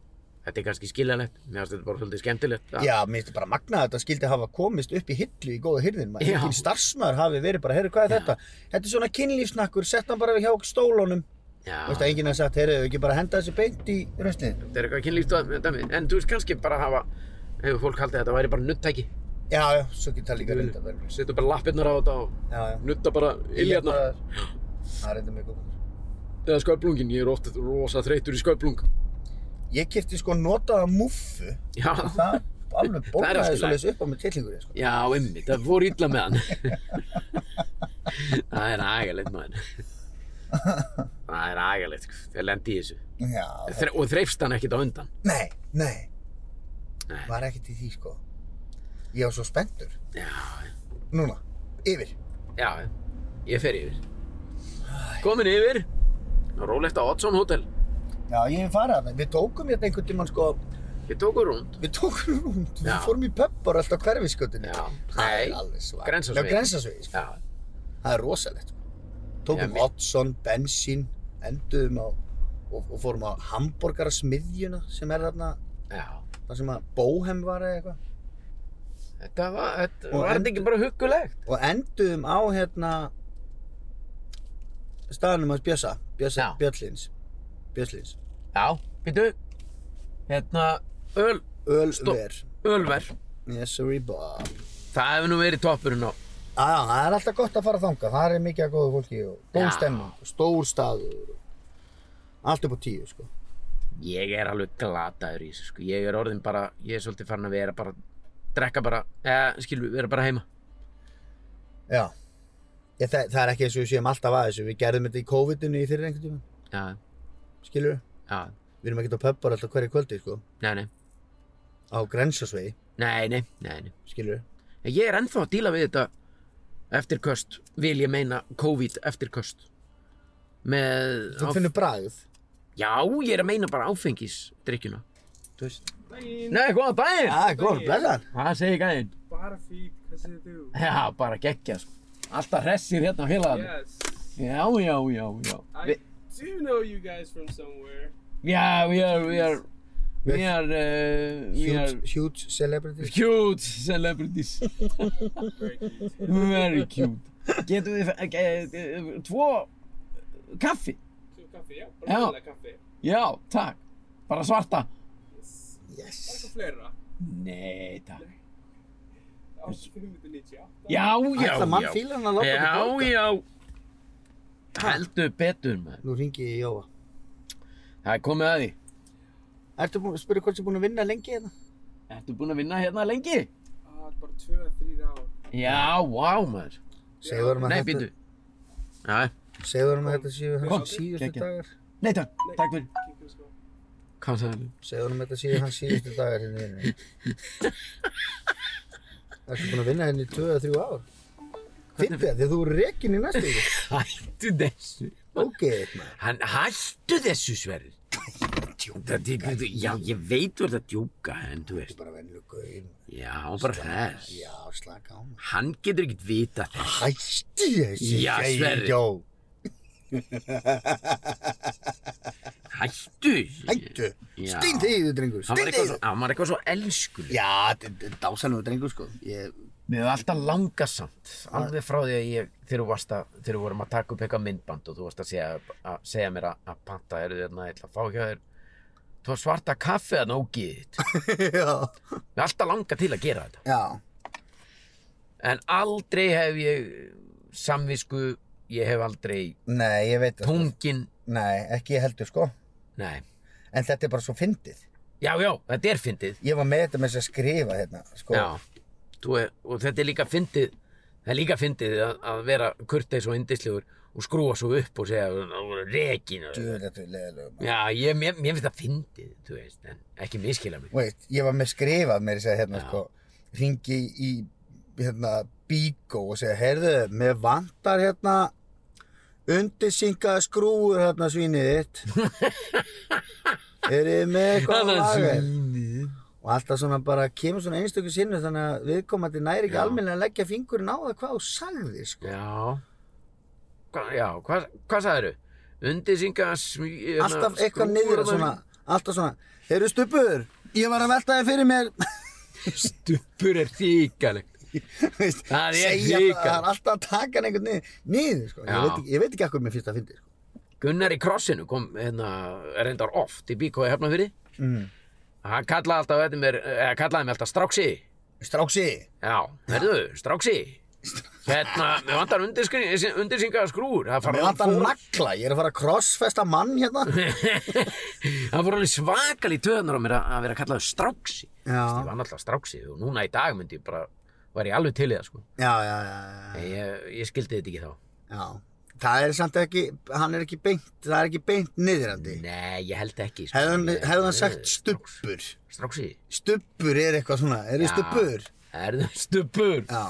[SPEAKER 1] þetta er kannski skiljanlegt. Mér finnst þetta bara svolítið skemmtilegt. að-
[SPEAKER 2] Já, mér finnst bara magnað að þetta skildi hafa komist upp í hillu í góða hyrðin.
[SPEAKER 1] Já.
[SPEAKER 2] Engin starfsmaður hafi verið bara, heyrðu hvað er þetta? Þetta er svona kynlífsnakkur, sett hann bara hjá stólunum.
[SPEAKER 1] já.
[SPEAKER 2] Þú veist að enginn hafi sagt, heyrðu, ekki bara henda þessu beint í röstnið.
[SPEAKER 1] Þetta er eitthvað kynlíft og dæmi. En þú veist kannski bara hafa, hefur fólk haldið að þetta væri bara nuttæki.
[SPEAKER 2] Já, já, svo getur það líka reynda verið.
[SPEAKER 1] Setja bara lappirnar á þetta og
[SPEAKER 2] Já, já.
[SPEAKER 1] nutta bara iljarnar.
[SPEAKER 2] Bara- Það er reynda mjög góð.
[SPEAKER 1] Eða sköflungin, ég er ofta rosa þreytur í sköflung.
[SPEAKER 2] Ég kefti sko notaða múffu
[SPEAKER 1] Já,
[SPEAKER 2] það
[SPEAKER 1] (laughs)
[SPEAKER 2] alveg
[SPEAKER 1] Það er allt
[SPEAKER 2] bólaði
[SPEAKER 1] í lagi.
[SPEAKER 2] svolítið upp á með tillingurinn sko.
[SPEAKER 1] já, emmi, það fór illa með hann. það er agalegt maður. það er agalegt, sko. þeir lendi í þessu.
[SPEAKER 2] Já, það-
[SPEAKER 1] Þre, og þreifst hann ekkert á undan.
[SPEAKER 2] nei, nei,
[SPEAKER 1] Nei.
[SPEAKER 2] var ekkert í því sko. Ég var svo spenntur,
[SPEAKER 1] Já,
[SPEAKER 2] núna, yfir.
[SPEAKER 1] já, ég fer yfir. Komin yfir, rólegt á Oddsson Hotel.
[SPEAKER 2] Já, ég hef farið að það, við tókum hérna einhvern tímann sko,
[SPEAKER 1] Við tókum rúnd.
[SPEAKER 2] við tókum rúnd,
[SPEAKER 1] Já.
[SPEAKER 2] við fórum í pöppar alltaf hverfiskötunni.
[SPEAKER 1] Já,
[SPEAKER 2] það
[SPEAKER 1] nei.
[SPEAKER 2] er alveg svag.
[SPEAKER 1] Grensásvegi.
[SPEAKER 2] Já, grensasvegi, sko.
[SPEAKER 1] Já,
[SPEAKER 2] það er rosalegt. sko.
[SPEAKER 1] Já,
[SPEAKER 2] Tókum
[SPEAKER 1] mér-
[SPEAKER 2] Oddsson, bensín, enduðum á, og, og fórum á hambúrgarasmiðjuna sem er þarna,
[SPEAKER 1] já.
[SPEAKER 2] þar sem að Bóhem var eða eitthvað.
[SPEAKER 1] Þetta var, þetta
[SPEAKER 2] Og
[SPEAKER 1] var
[SPEAKER 2] en-
[SPEAKER 1] þetta ekki bara huggulegt?
[SPEAKER 2] og enduðum á hérna staðanum hans Bjössa, Bjössa
[SPEAKER 1] Já.
[SPEAKER 2] Bjöllins Bjöllins,
[SPEAKER 1] Já, býtu. Hérna, öl,
[SPEAKER 2] Ölver
[SPEAKER 1] ölver.
[SPEAKER 2] yes sorry Bob
[SPEAKER 1] Það hefur nú verið toppurinn á.
[SPEAKER 2] aða, það er alltaf gott að fara þangað, það er mikið að góða fólki og góð sko.
[SPEAKER 1] Já.
[SPEAKER 2] stemming, og stór staður og allt upp á tíu sko
[SPEAKER 1] Ég er alveg glataður í þessu, sko. Ég er orðin bara, ég er svolítið farin að vera bara, drekka bara, eða, skilvi, vera bara heima.
[SPEAKER 2] já Ég, það, það er ekki eins og við séum alltaf að þessu, við gerðum þetta í COVID-inu í fyrir einhvern tíma,
[SPEAKER 1] Já,
[SPEAKER 2] skilur við?
[SPEAKER 1] já,
[SPEAKER 2] Við erum ekkert á pöppar alltaf hverju kvöldi, sko,
[SPEAKER 1] nei, nei,
[SPEAKER 2] á grensasvegi,
[SPEAKER 1] nei, nei, nei, nei.
[SPEAKER 2] skilur við?
[SPEAKER 1] En Ég er ennþá að díla við þetta eftirköst, vil ég meina COVID eftirköst. Með,
[SPEAKER 2] Þú
[SPEAKER 1] áf-
[SPEAKER 2] finnur bragð,
[SPEAKER 1] já, ég er að meina bara áfengisdrykkjuna.
[SPEAKER 2] þú veist?
[SPEAKER 1] Nei, góða daginn!
[SPEAKER 2] Já, góð, blessaðan.
[SPEAKER 1] Hvað segir gæðinn?
[SPEAKER 4] Bara fínt, hvað segir þú?
[SPEAKER 1] Já, bara geggja sko. Alltaf hressir hérna á félagarnir.
[SPEAKER 4] Yes,
[SPEAKER 1] Já, já, já, já.
[SPEAKER 4] I
[SPEAKER 1] Vi,
[SPEAKER 4] do know you guys from somewhere.
[SPEAKER 1] já, we are, we are, we
[SPEAKER 2] Við-
[SPEAKER 1] are, uh, we are
[SPEAKER 2] Huge, huge celebrity.
[SPEAKER 1] cute celebrities.
[SPEAKER 4] Very cute.
[SPEAKER 1] Very cute. Getum við, fe- ge- eh, tvo kaffi?
[SPEAKER 4] Two kaffe, já.
[SPEAKER 1] Já.
[SPEAKER 4] Bara vanlega kaffe.
[SPEAKER 1] Já, takk. Bara svarta.
[SPEAKER 4] Yes. Bara
[SPEAKER 2] Yes.
[SPEAKER 4] eitthvað fleira.
[SPEAKER 1] Nei, takk.
[SPEAKER 4] Á 598.
[SPEAKER 1] Já, já,
[SPEAKER 2] Ætla mann
[SPEAKER 1] já.
[SPEAKER 2] fílar hann að láta okkur
[SPEAKER 1] Já,
[SPEAKER 2] borga.
[SPEAKER 1] já. Heldur betur, maður.
[SPEAKER 2] Nú ringi ég í Jóa.
[SPEAKER 1] Það er komið að því.
[SPEAKER 2] Ertu búin að spyrja hvort sem búin að vinna lengi hérna?
[SPEAKER 1] Ertu búinn að vinna hérna lengi?
[SPEAKER 4] Ah, bara 2 að 3 ár.
[SPEAKER 1] Já, vá, maður.
[SPEAKER 2] Segðu honum að
[SPEAKER 1] Nei,
[SPEAKER 2] þetta-
[SPEAKER 1] býtu. Já,
[SPEAKER 2] Segðu honum að þetta séu
[SPEAKER 1] Kom,
[SPEAKER 2] hans síðustu
[SPEAKER 1] geggjað.
[SPEAKER 2] dagar.
[SPEAKER 1] nei takk, takk fyrir.
[SPEAKER 4] Kíkjum sko.
[SPEAKER 1] Hvað sagði þú?
[SPEAKER 2] Segðu honum að þetta séu hans síðustu dagar hérna í vinnu. Ertu búin að vinna hérna í 2-3 ár? Fyndi það, því að þú eru rekin í næstu ykkur.
[SPEAKER 1] Hættu þessu.
[SPEAKER 2] Ok, maður.
[SPEAKER 1] Hann hættu þessu, Sverrir. Þetta er ekki, já, ég veit þú ert að djúka, en þú
[SPEAKER 2] Ég er
[SPEAKER 1] veist,
[SPEAKER 2] bara vennileg gauð.
[SPEAKER 1] já, bara þess.
[SPEAKER 2] Já, slaka á maður.
[SPEAKER 1] Hann getur ekkert vita þess.
[SPEAKER 2] Hætti þessi.
[SPEAKER 1] Já,
[SPEAKER 2] gæi,
[SPEAKER 1] Sverrir.
[SPEAKER 2] Já,
[SPEAKER 1] Hættu.
[SPEAKER 2] hættu.
[SPEAKER 1] Já.
[SPEAKER 2] Stein þig, drengur.
[SPEAKER 1] Hann var
[SPEAKER 2] Stein
[SPEAKER 1] eitthvað
[SPEAKER 2] þig.
[SPEAKER 1] svo- hann var eitthvað svo elskuleg.
[SPEAKER 2] Já, þetta er dásanum drengur sko. Ég,
[SPEAKER 1] Mér hefði alltaf langa samt, alveg frá því að ég, þegar þú varst að, þegar við vorum að taka upp eitthvað myndband og þú varst að segja, að segja mér að, að panta, eru þið þarna, ég ætla að fá ekki að þér, þú var svarta kaffe að nógið þitt.
[SPEAKER 2] já.
[SPEAKER 1] Mér hefði alltaf langa til að gera þetta.
[SPEAKER 2] Já,
[SPEAKER 1] En aldrei hef ég samvisku, ég hef aldrei
[SPEAKER 2] nei, ég veit það. sko.
[SPEAKER 1] tungin,
[SPEAKER 2] Nei, ekki ég heldur sko.
[SPEAKER 1] nei,
[SPEAKER 2] En þetta er bara svo fyndið.
[SPEAKER 1] já, já, þetta er fyndið,
[SPEAKER 2] Ég var með þetta með þess að skrifa hérna, sko.
[SPEAKER 1] já, þú er, og þetta er líka fyndið, það er líka fyndið að, að vera kurteis og indislegur og skrúa svo upp og segja, það voru rekin og...
[SPEAKER 2] Djöfull, þetta er leðilegum.
[SPEAKER 1] Já, ég, mér, mér finnst það fyndið, þú veist, en ekki miskila mig.
[SPEAKER 2] Veit, ég var með skrifað með þess að segja, hérna,
[SPEAKER 1] Já.
[SPEAKER 2] sko. Ringi í, hérna, bíkó og segja, heyrðu, mér vantar hérna undirsinkaða skrúur hérna svínið þitt Eru þið með eitthvað að
[SPEAKER 1] Þannig
[SPEAKER 2] laga þér?
[SPEAKER 1] svínið.
[SPEAKER 2] Og alltaf svona bara kemur svona einstöku sinnu þannig að viðkomandi næri ekki
[SPEAKER 1] Já.
[SPEAKER 2] almennilega að leggja fingurinn á það hvað þú sagði sko.
[SPEAKER 1] Já. Hva, já, hvað, hvað sagðiru? Undirsinga smí... hérna,
[SPEAKER 2] Alltaf eitthvað
[SPEAKER 1] skrúfur
[SPEAKER 2] niður
[SPEAKER 1] og
[SPEAKER 2] svona, alltaf svona, heyrðu stupur, ég var að velta þér fyrir mér,
[SPEAKER 1] Stupur er þýkalegt.
[SPEAKER 2] (laughs) veist,
[SPEAKER 1] Það er
[SPEAKER 2] segja
[SPEAKER 1] líka.
[SPEAKER 2] það, það er alltaf að taka hann einhvern niður, niður sko.
[SPEAKER 1] Já.
[SPEAKER 2] Ég veit, ekki, ég veit ekki akkur mér fyrst að fyndi sko.
[SPEAKER 1] Gunnar í krossinu kom hérna, reyndar oft í BK í Hafnafyrði.
[SPEAKER 2] mm.
[SPEAKER 1] Hann kallaði alltaf þetta mér, eða kallaði mér alltaf stráksi.
[SPEAKER 2] Stráksi,
[SPEAKER 1] Já, verðu, stráksi. Hérna, við vantar undirsinga skrúur. Það fara
[SPEAKER 2] mér vantar nagla, ég er að fara að crossfesta mann
[SPEAKER 1] (laughs)
[SPEAKER 2] hérna.
[SPEAKER 1] það fór alveg svakal í töðunar á mér að að vera kallaður stráksi
[SPEAKER 2] Já.
[SPEAKER 1] Vist, ég var náttúrulega stráksi og núna í dag myndi ég bara var ég alveg til í það sko.
[SPEAKER 2] Já, já, já, já,
[SPEAKER 1] ég, ég skildi þetta ekki þá
[SPEAKER 2] já. Það er samt ekki, hann er ekki beint, það er ekki beint niðrandi.
[SPEAKER 1] nei, ég held ekki sko.
[SPEAKER 2] Hefði hann,
[SPEAKER 1] Ég-
[SPEAKER 2] hefði hann
[SPEAKER 1] ég-
[SPEAKER 2] sagt stubbur,
[SPEAKER 1] stráksi
[SPEAKER 2] stubbur er eitthvað svona, er þið
[SPEAKER 1] Já.
[SPEAKER 2] stubbur?
[SPEAKER 1] herðu, stupur
[SPEAKER 2] Já,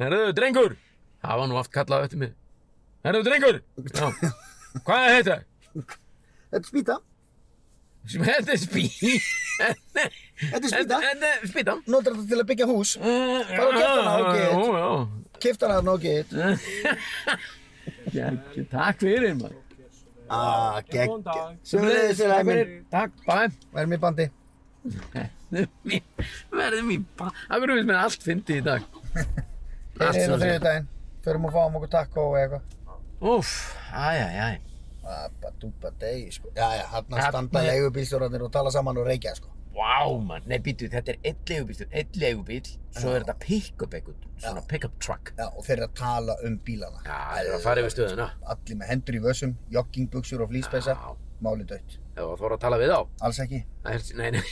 [SPEAKER 1] herðu, drengur það var nú oft kallað eftir mig herðu, drengur Já. hvað er þetta?
[SPEAKER 2] þetta er spýta,
[SPEAKER 1] sem þetta er spí
[SPEAKER 2] þetta er
[SPEAKER 1] þetta
[SPEAKER 2] spýta.
[SPEAKER 1] þetta er spýtan
[SPEAKER 2] Notar þetta til að byggja hús,
[SPEAKER 1] Mm. hvað
[SPEAKER 2] og keyptu hana, ok.
[SPEAKER 1] ok
[SPEAKER 2] kiftar hann og get.
[SPEAKER 1] Gekki, takk fyrir maður.
[SPEAKER 2] Ah, gegg.
[SPEAKER 4] Góðan dag.
[SPEAKER 2] Sumulegis er það minn,
[SPEAKER 1] Takk, bæ.
[SPEAKER 2] væri mér bandi.
[SPEAKER 1] Verðum í bæ. Akkur finnst mér allt fyndi í dag.
[SPEAKER 2] Ég er hérna
[SPEAKER 1] svoleiðis.
[SPEAKER 2] þriðu daginn, förum að fáum okkur taco og eitthvað.
[SPEAKER 1] Úf, æj, æj, æj.
[SPEAKER 2] Abba dúba degi, sko. Já, já, hann
[SPEAKER 1] Þarna-
[SPEAKER 2] standa leigubílstjórarnir og tala saman og reykja, sko.
[SPEAKER 1] Vá, mann. Nei, býtu, þetta er einn leigubíl, einn leigubíl, svo er þetta pick-up eitthvað, svona
[SPEAKER 2] Já.
[SPEAKER 1] pick-up truck.
[SPEAKER 2] Já, og þeir eru að tala um bílana.
[SPEAKER 1] Já, það er að fara yfir stöðuna.
[SPEAKER 2] Allir með hendur í vössum, joggingbuksur og flýspessa,
[SPEAKER 1] Já,
[SPEAKER 2] máli dött.
[SPEAKER 1] ef það þóra að tala við þá.
[SPEAKER 2] Alls ekki.
[SPEAKER 1] Það er- Nei, nei,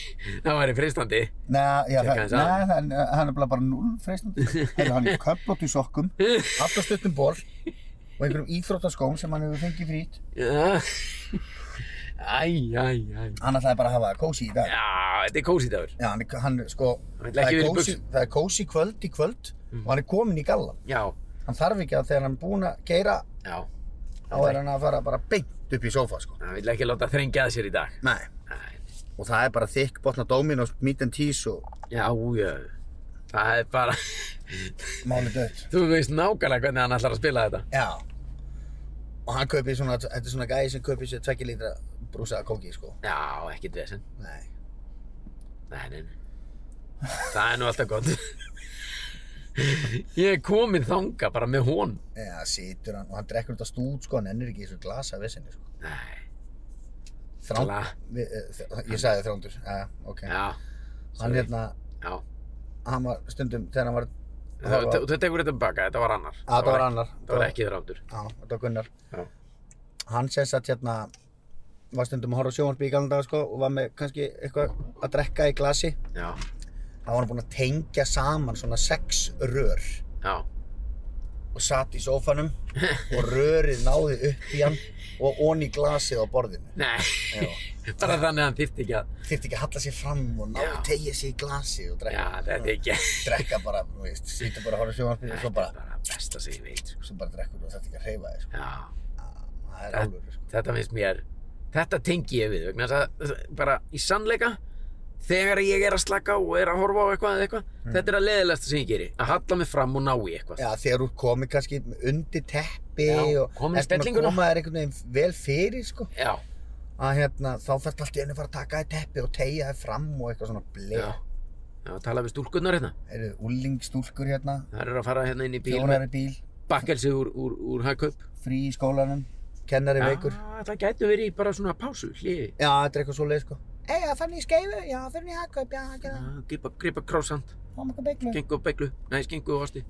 [SPEAKER 1] (laughs) það væri fristandi.
[SPEAKER 2] Nei, já,
[SPEAKER 1] Tekka
[SPEAKER 2] það,
[SPEAKER 1] aðeins á.
[SPEAKER 2] nei, hann, hann er bara, bara null
[SPEAKER 1] (laughs)
[SPEAKER 2] freistandi. Hefur hann í köflótt í sokkum, allt á stuttum ból og einhverjum íþróttaskóm sem hann hefur fengið frýtt.
[SPEAKER 1] Já. Æj, æj, æj.
[SPEAKER 2] Hann ætlaði bara að hafa það kósi í dag.
[SPEAKER 1] Já, þetta er kósið dagur.
[SPEAKER 2] Já, hann, er- hann er, sko,
[SPEAKER 1] Hann vill
[SPEAKER 2] það
[SPEAKER 1] ekki vera
[SPEAKER 2] er,
[SPEAKER 1] í Mhm.
[SPEAKER 2] kósi, það er kósi kvöld í kvöld og hann er kominn í gallan.
[SPEAKER 1] Já,
[SPEAKER 2] Hann þarf ekki að þegar hann er búinn að geira
[SPEAKER 1] já.
[SPEAKER 2] þá er hann að fara bara beint upp í sófa, sko.
[SPEAKER 1] Það vil ekki láta þrengja að sér í dag.
[SPEAKER 2] Nei.
[SPEAKER 1] Nei.
[SPEAKER 2] Og það er bara þykk botna Dominos, meat and cheese og
[SPEAKER 1] Já, já. Það er bara, (laughs)
[SPEAKER 2] máli dött.
[SPEAKER 1] þú veist nákvæmlega hvernig hann ætlar að spila þetta.
[SPEAKER 2] Já. Og hann kaupir svona, þetta er svona gæði sem kaupir sér tvekki lítra brúsaða kóki, sko.
[SPEAKER 1] Já, ekkert vesen.
[SPEAKER 2] Nei.
[SPEAKER 1] Nei, nei, nei. Það er nú alltaf gott. (laughs) Ég er komin þanga bara með hon.
[SPEAKER 2] Já, situr hann og hann drekkur þetta stút, sko, hann ennir ekki í þessu glasa vissinni, sko.
[SPEAKER 1] Nei,
[SPEAKER 2] Þrán...
[SPEAKER 1] Gla-
[SPEAKER 2] Við, eh, þ- ég sagði þrándur, já, ok.
[SPEAKER 1] já,
[SPEAKER 2] hann hérna,
[SPEAKER 1] já.
[SPEAKER 2] hann var stundum, þegar hann var...
[SPEAKER 1] Þú þú- þú tekur þetta baka, þetta var annar.
[SPEAKER 2] Já, þetta var annar.
[SPEAKER 1] Það var ekki þráttur.
[SPEAKER 2] Já, þetta var Gunnar.
[SPEAKER 1] Já.
[SPEAKER 2] Hann sem sagt hérna, var stundum að horfa á sjónvarpi í galna daga, sko, og var með kannski eitthvað að drekka í glasi.
[SPEAKER 1] Já,
[SPEAKER 2] Þá var hann búinn að tengja saman svona sex rör.
[SPEAKER 1] já.
[SPEAKER 2] og satt í
[SPEAKER 1] (laughs)
[SPEAKER 2] sófanum og rörið náði upp í hann og onni glasið á borðinu.
[SPEAKER 1] Nei, (laughs)
[SPEAKER 2] Já.
[SPEAKER 1] bara þannig að hann þyrfti ekki að...
[SPEAKER 2] Þyrfti ekki að halla sér fram og ná
[SPEAKER 1] Já.
[SPEAKER 2] tegja sér í glasið og
[SPEAKER 1] Já,
[SPEAKER 2] drekka,
[SPEAKER 1] þetta er ekki...
[SPEAKER 2] drekka bara, þú veist, sýta bara að horfa sjónvarpinu og
[SPEAKER 1] Þetta
[SPEAKER 2] svo bara,
[SPEAKER 1] er bara besta sem ég veit, sko.
[SPEAKER 2] svo bara drekkur og þetta ekki að hreyfa þig, sko.
[SPEAKER 1] Já.
[SPEAKER 2] Það er
[SPEAKER 1] Þetta-
[SPEAKER 2] alveg, sko.
[SPEAKER 1] þetta finnst mér þetta tengi ég við vegna þess að bara í sannleika þegar ég er að slaka á og er að horfa á eitthvað, eða eitthvað þetta er að leðilegsta sem ég geri að halla mig fram og ná í eitthvað
[SPEAKER 2] Hmm. Já, þegar þú komið kannski undir teppi
[SPEAKER 1] Já,
[SPEAKER 2] og
[SPEAKER 1] kominn í
[SPEAKER 2] ertu með að
[SPEAKER 1] spellinguna.
[SPEAKER 2] koma þér einhvern veginn vel fyrir, sko.
[SPEAKER 1] já,
[SPEAKER 2] Að hérna, þá þarfst allt í einu að fara að taka þér teppi og tegja þér fram og eitthvað svona
[SPEAKER 1] já.
[SPEAKER 2] bleið.
[SPEAKER 1] já tala við stúlkunnar hérna
[SPEAKER 2] Eru úlingstúlkur hérna,
[SPEAKER 1] það eru að fara hérna inn í bíl með
[SPEAKER 2] fjórar í bíl,
[SPEAKER 1] bakkelsi úr, úr, úr hagkaup
[SPEAKER 2] frí í skólanum, kennari veikur.
[SPEAKER 1] það gætu verið í bara svona pásu hliði
[SPEAKER 2] Já, þetta er eitthvað svoleið sko. Ei, það fann ég skeifu, já, það fann ég hakkaup, já, ekki það.
[SPEAKER 1] Já, gripa, gripa krossand,
[SPEAKER 2] Mamma ekki bygglu.
[SPEAKER 1] gengu og beglu nei, skengu og osti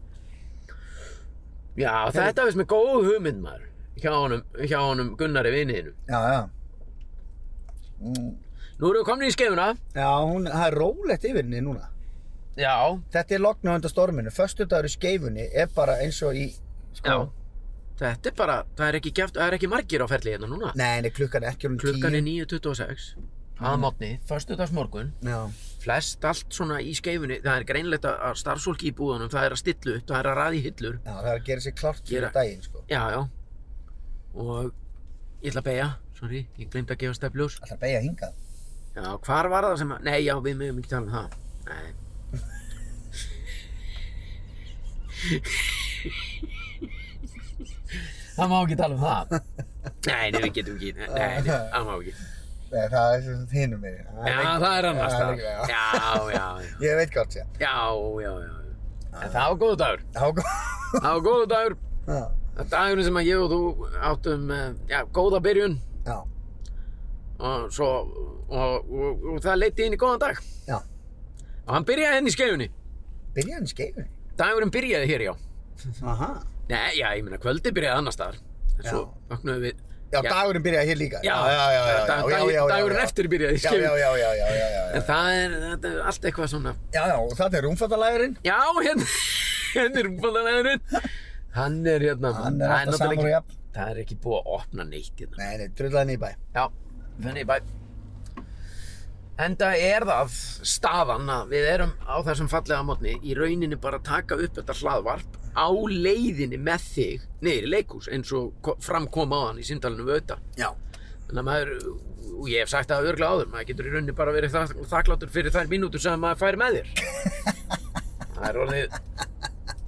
[SPEAKER 1] já, þetta finnst mér góð hugmynd maður hjá honum, hjá honum Gunnari viniðinu
[SPEAKER 2] Já, já. Mm.
[SPEAKER 1] nú erum við komin í skeifuna
[SPEAKER 2] Já, hún, það er rólegt yfir henni núna.
[SPEAKER 1] já,
[SPEAKER 2] Þetta er loknu undan storminu. Föstudagur í skeifunni er bara eins og í, sko.
[SPEAKER 1] Já. Þetta er bara, það er ekki, geft, það er ekki margir á ferli hérna núna.
[SPEAKER 2] Nei, nei, klukkan er ekki hún
[SPEAKER 1] Klukkan er 9.26 að mótni, förstudags morgun,
[SPEAKER 2] Já.
[SPEAKER 1] flest allt svona í skeifunni, það er greinlegt að- að starfsfólki í búðunum, það er að stillu upp, það er að raði hillur.
[SPEAKER 2] Já, það er að gera sér klart
[SPEAKER 1] Gera-
[SPEAKER 2] fyrir daginn, sko.
[SPEAKER 1] Já, já. Og ég ætla að beigja, sorry, ég glemt að gefa stefljós.
[SPEAKER 2] Alltaf beigja hingað.
[SPEAKER 1] Já, hvar var það sem að, nei, já, við mögum ekki tala um það. Nei. það má ekki tala um það. Nei, nei, við getum ekki, nei, nei, nei, það má ekki.
[SPEAKER 2] Nei, það er sem hinnum minni.
[SPEAKER 1] Já, það er annars
[SPEAKER 2] Já,
[SPEAKER 1] það.
[SPEAKER 2] líka, já.
[SPEAKER 1] Já, já, já,
[SPEAKER 2] (laughs) Ég veit gott, já.
[SPEAKER 1] já, já, já. En það var góðu dagur,
[SPEAKER 2] Já, gott. (laughs)
[SPEAKER 1] það var góðu dagur.
[SPEAKER 2] Já,
[SPEAKER 1] Það dagurinn sem að ég og þú áttum, eh, já, góða byrjun
[SPEAKER 2] já,
[SPEAKER 1] og svo, og, og, og það leiti inn í góðan dag.
[SPEAKER 2] já.
[SPEAKER 1] Og hann byrjaði henni í skeifunni.
[SPEAKER 2] Byrjaðin skeifinni.
[SPEAKER 1] Dagurinn byrjaði hér, já.
[SPEAKER 2] Aha.
[SPEAKER 1] Nei, já, ég meina, kvöldi byrjaði annar staðar. En svo vaknaði við...
[SPEAKER 2] Já, dagurinn byrjaði hér líka. Já, já, já, já, já,
[SPEAKER 1] dag-
[SPEAKER 2] já,
[SPEAKER 1] dag-
[SPEAKER 2] já, já,
[SPEAKER 1] Dagurinn
[SPEAKER 2] já.
[SPEAKER 1] eftir byrjaði,
[SPEAKER 2] Já, já, já, já, já, já, já.
[SPEAKER 1] En það er, þetta er allt eitthvað svona...
[SPEAKER 2] Já, já, og þetta er rúmfattalæðurinn.
[SPEAKER 1] Já, hérna, (laughs) hérna er búinlegaðurinn. Hann er hérna...
[SPEAKER 2] Hann
[SPEAKER 1] það
[SPEAKER 2] er alltaf
[SPEAKER 1] náttúrulega
[SPEAKER 2] samur og
[SPEAKER 1] ekki-
[SPEAKER 2] jafn.
[SPEAKER 1] Það er ekki búið að opna neitt hérna.
[SPEAKER 2] Nei, nei, drullan í bæ.
[SPEAKER 1] Já, þannig bæ. Enda er það staðan að við erum á þessum fallega mótni í rauninni bara að taka upp þetta hlaðvarp á leiðinni með þig niður í leikús eins og ko- fram kom á hann í síndalinu við auðvitað.
[SPEAKER 2] Já.
[SPEAKER 1] Þannig að maður, og ég hef sagt það örglega áður, maður getur í rauninni bara verið þak þakklátur fyrir þær mínútur sem maður fær með
[SPEAKER 2] (laughs)
[SPEAKER 1] þér. Það er orðið,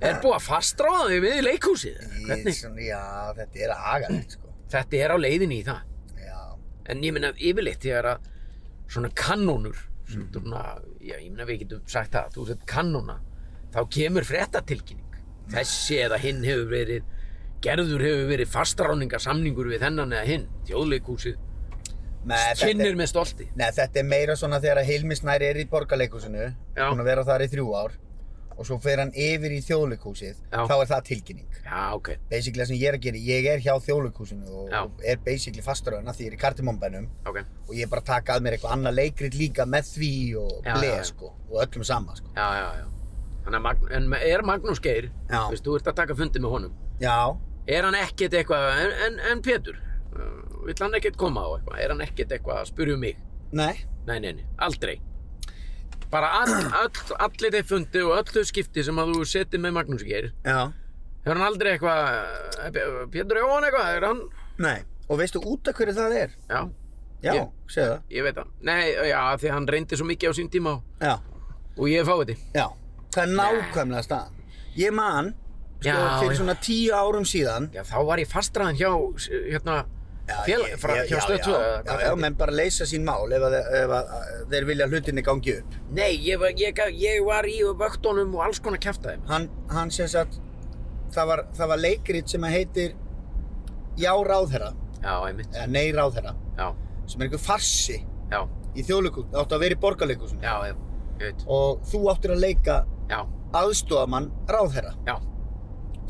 [SPEAKER 1] er búið að fastráða þig við í leikúsið? eða?
[SPEAKER 2] Ég,
[SPEAKER 1] Hvernig?
[SPEAKER 2] svona, já, þetta er agalegt, sko.
[SPEAKER 1] Þetta er á leiðinni í það.
[SPEAKER 2] Já,
[SPEAKER 1] En ég meina yfirleitt þegar að svona kanónur,
[SPEAKER 2] Mm.
[SPEAKER 1] svona, já, ég meina við getum sagt það, þú sett kanóna, þá kemur fréttatilkynning. Þessi eða hinn hefur verið, gerður hefur verið fastráningasamningur við þennan eða hinn, þjóðleikúsið,
[SPEAKER 2] Nei, þetta
[SPEAKER 1] kynnir
[SPEAKER 2] er,
[SPEAKER 1] með stolti.
[SPEAKER 2] nei, þetta er meira svona þegar að Hilmi Snær er í borgarleikhúsinu,
[SPEAKER 1] Já.
[SPEAKER 2] búinn að vera þar í þrjú ár og svo fer hann yfir í þjóðleikhúsið,
[SPEAKER 1] Já.
[SPEAKER 2] þá er það tilkynning.
[SPEAKER 1] Já, ok,
[SPEAKER 2] Basically það sem ég er að gera, ég er hjá þjóðleikhúsinu og
[SPEAKER 1] Já.
[SPEAKER 2] er basically fasturöðan að því ég er í kartimombænum
[SPEAKER 1] ok,
[SPEAKER 2] og ég er bara að taka að mér eitthvað annað leikrit líka með því og
[SPEAKER 1] Já,
[SPEAKER 2] bleð
[SPEAKER 1] já, já.
[SPEAKER 2] sko og öllum sama sko.
[SPEAKER 1] já, já, já. Þannig að Magn, en er Magnús Geir,
[SPEAKER 2] Já.
[SPEAKER 1] veist, þú ert að taka fundi með honum,
[SPEAKER 2] Já,
[SPEAKER 1] er hann ekkert eitthvað, en, en, en Pétur, uh, vill hann ekkert koma á eitthvað, er hann ekkert eitthvað að spyrja um mig?
[SPEAKER 2] nei,
[SPEAKER 1] Nei, nei, nei, aldrei. Bara all, all, allir þeir fundi og öll þau skipti sem að þú setið með Magnús Geir.
[SPEAKER 2] já,
[SPEAKER 1] Hefur hann aldrei eitthvað, eh, Pétur Jóhann eitthvað, er hann?
[SPEAKER 2] nei. Og veistu út af hverju það er?
[SPEAKER 1] Já,
[SPEAKER 2] Já,
[SPEAKER 1] Ég-
[SPEAKER 2] segðu það.
[SPEAKER 1] ég veit það. Nei, já, því hann reyndi svo mikið á sín tíma og,
[SPEAKER 2] Já,
[SPEAKER 1] og ég er fáið því.
[SPEAKER 2] já. Það er nákvæmlega staðan. Ég man, sko,
[SPEAKER 1] Já,
[SPEAKER 2] fyrir
[SPEAKER 1] já.
[SPEAKER 2] svona tíu árum síðan,
[SPEAKER 1] Já, þá var ég fastraðan hjá, s- hérna,
[SPEAKER 2] Já,
[SPEAKER 1] félag,
[SPEAKER 2] ég-
[SPEAKER 1] frá,
[SPEAKER 2] ég-
[SPEAKER 1] hjá
[SPEAKER 2] já,
[SPEAKER 1] stöð 2.
[SPEAKER 2] já, já, já, menn bara leysa sín mál ef, að, ef að, þeir vilja að hlutinni gangi upp
[SPEAKER 1] Nei, ég, var- ég, gaf- ég var í vöktunum og alls konar kæftæði.
[SPEAKER 2] hann, hann sem sagt það var, það var leikrit sem að heitir Já ráðherra
[SPEAKER 1] Já, einmitt.
[SPEAKER 2] eða Nei ráðherra
[SPEAKER 1] Já,
[SPEAKER 2] sem er einhver farsi
[SPEAKER 1] já,
[SPEAKER 2] í þjóðleikus það átti að vera í borgarleikusinu
[SPEAKER 1] já, já, ég veit.
[SPEAKER 2] og þú áttir að leika
[SPEAKER 1] Já,
[SPEAKER 2] aðstofamann ráðherra
[SPEAKER 1] já,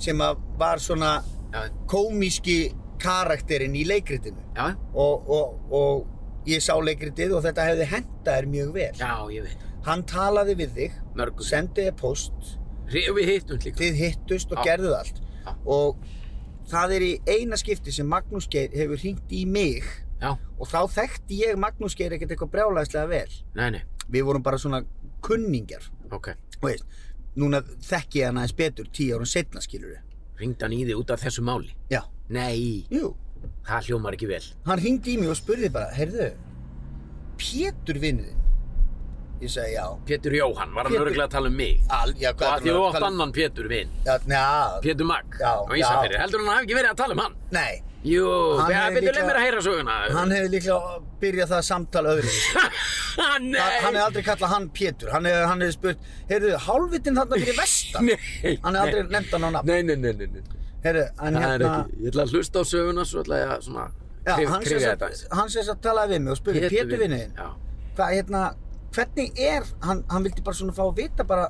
[SPEAKER 2] sem að var svona
[SPEAKER 1] já,
[SPEAKER 2] komíski karakterinn í leikritinu
[SPEAKER 1] já,
[SPEAKER 2] og, og, og ég sá leikritið og þetta hefði henda þér mjög vel
[SPEAKER 1] já, ég veit.
[SPEAKER 2] hann talaði við þig
[SPEAKER 1] Mörgum.
[SPEAKER 2] sendið þér post
[SPEAKER 1] Ri- Við hittum líka.
[SPEAKER 2] þið hittust og
[SPEAKER 1] Já.
[SPEAKER 2] gerðuð allt
[SPEAKER 1] Já.
[SPEAKER 2] og það er í eina skipti sem Magnús Geir hefur hringt í mig
[SPEAKER 1] Já,
[SPEAKER 2] og þá þekkti ég Magnús Geir ekkert eitthvað brjálæðislega vel
[SPEAKER 1] nei, nei,
[SPEAKER 2] við vorum bara svona kunningjar
[SPEAKER 1] ok.
[SPEAKER 2] og veist, núna þekki ég hann aðeins betur tíu árun setna skilur við
[SPEAKER 1] Ringd hann í þig út af þessu máli?
[SPEAKER 2] já,
[SPEAKER 1] Nei,
[SPEAKER 2] jú,
[SPEAKER 1] það hljómar ekki vel.
[SPEAKER 2] hann hringdi í mig og spurði bara heyrðu, Pétur vinnuðinn ég sagði já
[SPEAKER 1] Pétur Jóhann, var hann
[SPEAKER 2] Pétur-
[SPEAKER 1] örugglega að tala um mig?
[SPEAKER 2] Al, já,
[SPEAKER 1] Og að
[SPEAKER 2] hvað
[SPEAKER 1] því
[SPEAKER 2] er
[SPEAKER 1] þú
[SPEAKER 2] hann
[SPEAKER 1] átt annan Pétur vinn,
[SPEAKER 2] Já, njá,
[SPEAKER 1] Pétur Magg,
[SPEAKER 2] um? Já,
[SPEAKER 1] á Ísafjörði.
[SPEAKER 2] já.
[SPEAKER 1] Heldur hann hafi ekki verið að tala um hann?
[SPEAKER 2] nei,
[SPEAKER 1] Jú,
[SPEAKER 2] Hann
[SPEAKER 1] þegar
[SPEAKER 2] hefði
[SPEAKER 1] Pétur leið
[SPEAKER 2] líklega-
[SPEAKER 1] mér að heyra söguna.
[SPEAKER 2] hann hefði líklega byrjað það samtal öðru
[SPEAKER 1] (laughs) Nei,
[SPEAKER 2] Hann hann hefði aldrei kallað hann Pétur, hann hefði hef spurt, heyrðu, hálfvitinn þarna fyrir vestan?
[SPEAKER 1] Nei,
[SPEAKER 2] Hann hefði aldrei nefnt hann á nafn.
[SPEAKER 1] Nei, nei, nei, nei, nei.
[SPEAKER 2] Heyrðu, hann
[SPEAKER 1] Það er
[SPEAKER 2] hérna,
[SPEAKER 1] ekki, ég ætla að hlusta á söguna, svo ætla ég að svona
[SPEAKER 2] já,
[SPEAKER 1] krif-
[SPEAKER 2] hann sem
[SPEAKER 1] krifja
[SPEAKER 2] sagt-
[SPEAKER 1] aðeins.
[SPEAKER 2] hann sem sagt talaði við mig og spurði, Pétur vinniðinn,
[SPEAKER 1] Já,
[SPEAKER 2] hvað, hérna, hvernig er, hann, hann vildi bara svona fá að vita bara,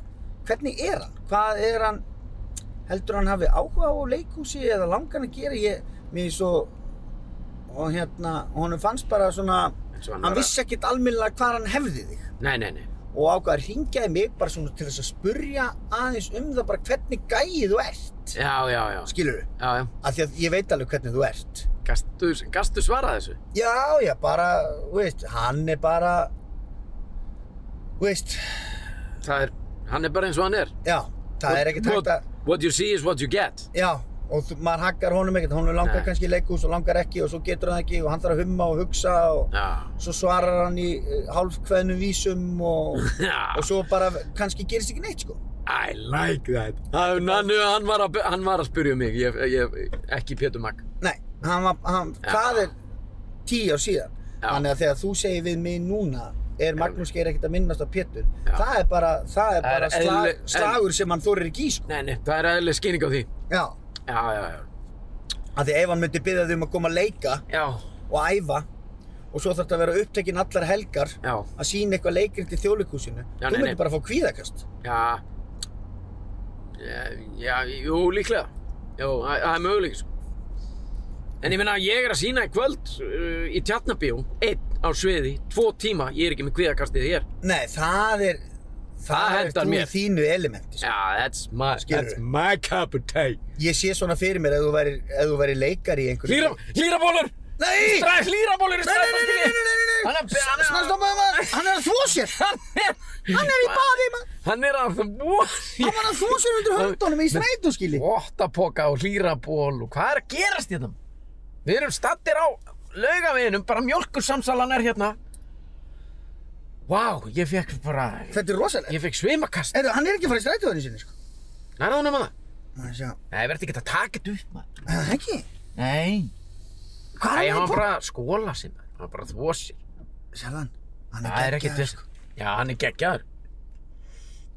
[SPEAKER 2] hvernig er hann? Hvað er hann, heldur hann hafi áhuga á leikhúsi eða langar hann að gera? Ég, mér er svo, og hérna, honum fannst bara svona,
[SPEAKER 1] eins og hann
[SPEAKER 2] hann
[SPEAKER 1] var að-
[SPEAKER 2] vissi ekkert almennilega hvað hann hefði þig.
[SPEAKER 1] Nei, nei, nei.
[SPEAKER 2] og ákvað að ringja í mig bara svona til þess að spurja aðeins um það bara hvernig gæið þú ert
[SPEAKER 1] Já, já, já.
[SPEAKER 2] skilur við,
[SPEAKER 1] Já, já.
[SPEAKER 2] af því að ég veit alveg hvernig þú ert
[SPEAKER 1] Gastu, gastu svarað þessu?
[SPEAKER 2] já, já, bara, þú veist, hann er bara Þú veist,
[SPEAKER 1] Það er, hann er bara eins og hann er.
[SPEAKER 2] já, það er ekkert hægt að,
[SPEAKER 1] What you see is what you get.
[SPEAKER 2] já, og þú- maður hakkar honum ekkert, honum langar
[SPEAKER 1] Nei.
[SPEAKER 2] kannski í leikhús og langar ekki og svo getur hann ekki og hann þarf að humma og hugsa og
[SPEAKER 1] Já.
[SPEAKER 2] svo svarar hann í eh, hálfkveðnum vísum og,
[SPEAKER 1] Já.
[SPEAKER 2] og svo bara kannski gerist ekki neitt, sko.
[SPEAKER 1] I like that. Hann, hann, hann, var, að, hann var að spyrja um mig, ég, ég, ekki Pétur Mag.
[SPEAKER 2] Nei, hann var, hann,
[SPEAKER 1] Já.
[SPEAKER 2] það er tíu ár síðan.
[SPEAKER 1] Já.
[SPEAKER 2] Þannig að þegar þú segir við mig núna, er Magnús Geir ekkert að minnast á Pétur.
[SPEAKER 1] Já.
[SPEAKER 2] Það er bara, það er
[SPEAKER 1] Það er
[SPEAKER 2] bara slag,
[SPEAKER 1] eðli-
[SPEAKER 2] slagur sem hann þorir ekki í, sko.
[SPEAKER 1] Nei, nei, það er aðeinslega skýning á því.
[SPEAKER 2] Já,
[SPEAKER 1] Já, já, já.
[SPEAKER 2] af því ef hann myndi byrja þig um að koma að leika
[SPEAKER 1] Já,
[SPEAKER 2] og æfa og svo þarf að vera upptekinn allar helgar
[SPEAKER 1] já,
[SPEAKER 2] að sína eitthvað leikrit í þjóðleikúsinu,
[SPEAKER 1] Já,
[SPEAKER 2] þú
[SPEAKER 1] nei, nei.
[SPEAKER 2] myndir bara fá kvíðakast.
[SPEAKER 1] já. Já, já, jú, líklega. Jú, það það er möguleik, sko. En ég meina, ég er að sína í kvöld uh, í Tjarnabíó, einn á sviði, tvo tíma, ég er ekki með kviðakastið hér.
[SPEAKER 2] Nei, það er,
[SPEAKER 1] Það
[SPEAKER 2] það er
[SPEAKER 1] hentar
[SPEAKER 2] þú
[SPEAKER 1] mér.
[SPEAKER 2] í þínu elementi. Sko.
[SPEAKER 1] Já, that's my,
[SPEAKER 2] Skilurðu?
[SPEAKER 1] that's my cup of tea.
[SPEAKER 2] Ég sé svona fyrir mér ef þú væri, ef þú væri leikari í einhverju.
[SPEAKER 1] Hlýra, hlýrabólur!
[SPEAKER 2] Nei!
[SPEAKER 1] Stræð hlýrabólur í
[SPEAKER 2] Nei, nei, nei, nei, nei, nei, nei,
[SPEAKER 1] Hann er- hann er-
[SPEAKER 2] nei, snarstoppaði maður, hann er að þvó sér,
[SPEAKER 1] Hann er,
[SPEAKER 2] hann er í baði maður,
[SPEAKER 1] Hann er að það
[SPEAKER 2] hann var að þvó sér undir höndunum í strætu skilji.
[SPEAKER 1] Vottapoka og hlýraból og hvað er að gerast hérna? Við erum stattir á laugaveginum, bara mjölkursamsalan er hérna. Vá, ég fekk bara,
[SPEAKER 2] Þetta er rosalega.
[SPEAKER 1] ég fekk svimakast.
[SPEAKER 2] Heyrðu, hann er ekki að fara í strætuðinu sinni sko.
[SPEAKER 1] Nærðu hann um það?
[SPEAKER 2] Má ég sjá.
[SPEAKER 1] Nei, verði ekki að taka þetta upp maður.
[SPEAKER 2] Er Það ekki.
[SPEAKER 1] Nei.
[SPEAKER 2] Hvað
[SPEAKER 1] Nei,
[SPEAKER 2] er
[SPEAKER 1] hann var
[SPEAKER 2] hann í
[SPEAKER 1] bara að skóla sér maður, hann var bara að þvó sér.
[SPEAKER 2] bóð? Sjálfan, hann
[SPEAKER 1] Það er
[SPEAKER 2] er
[SPEAKER 1] ekki
[SPEAKER 2] geggjaður
[SPEAKER 1] til.
[SPEAKER 2] sko.
[SPEAKER 1] Já, hann er geggjaður.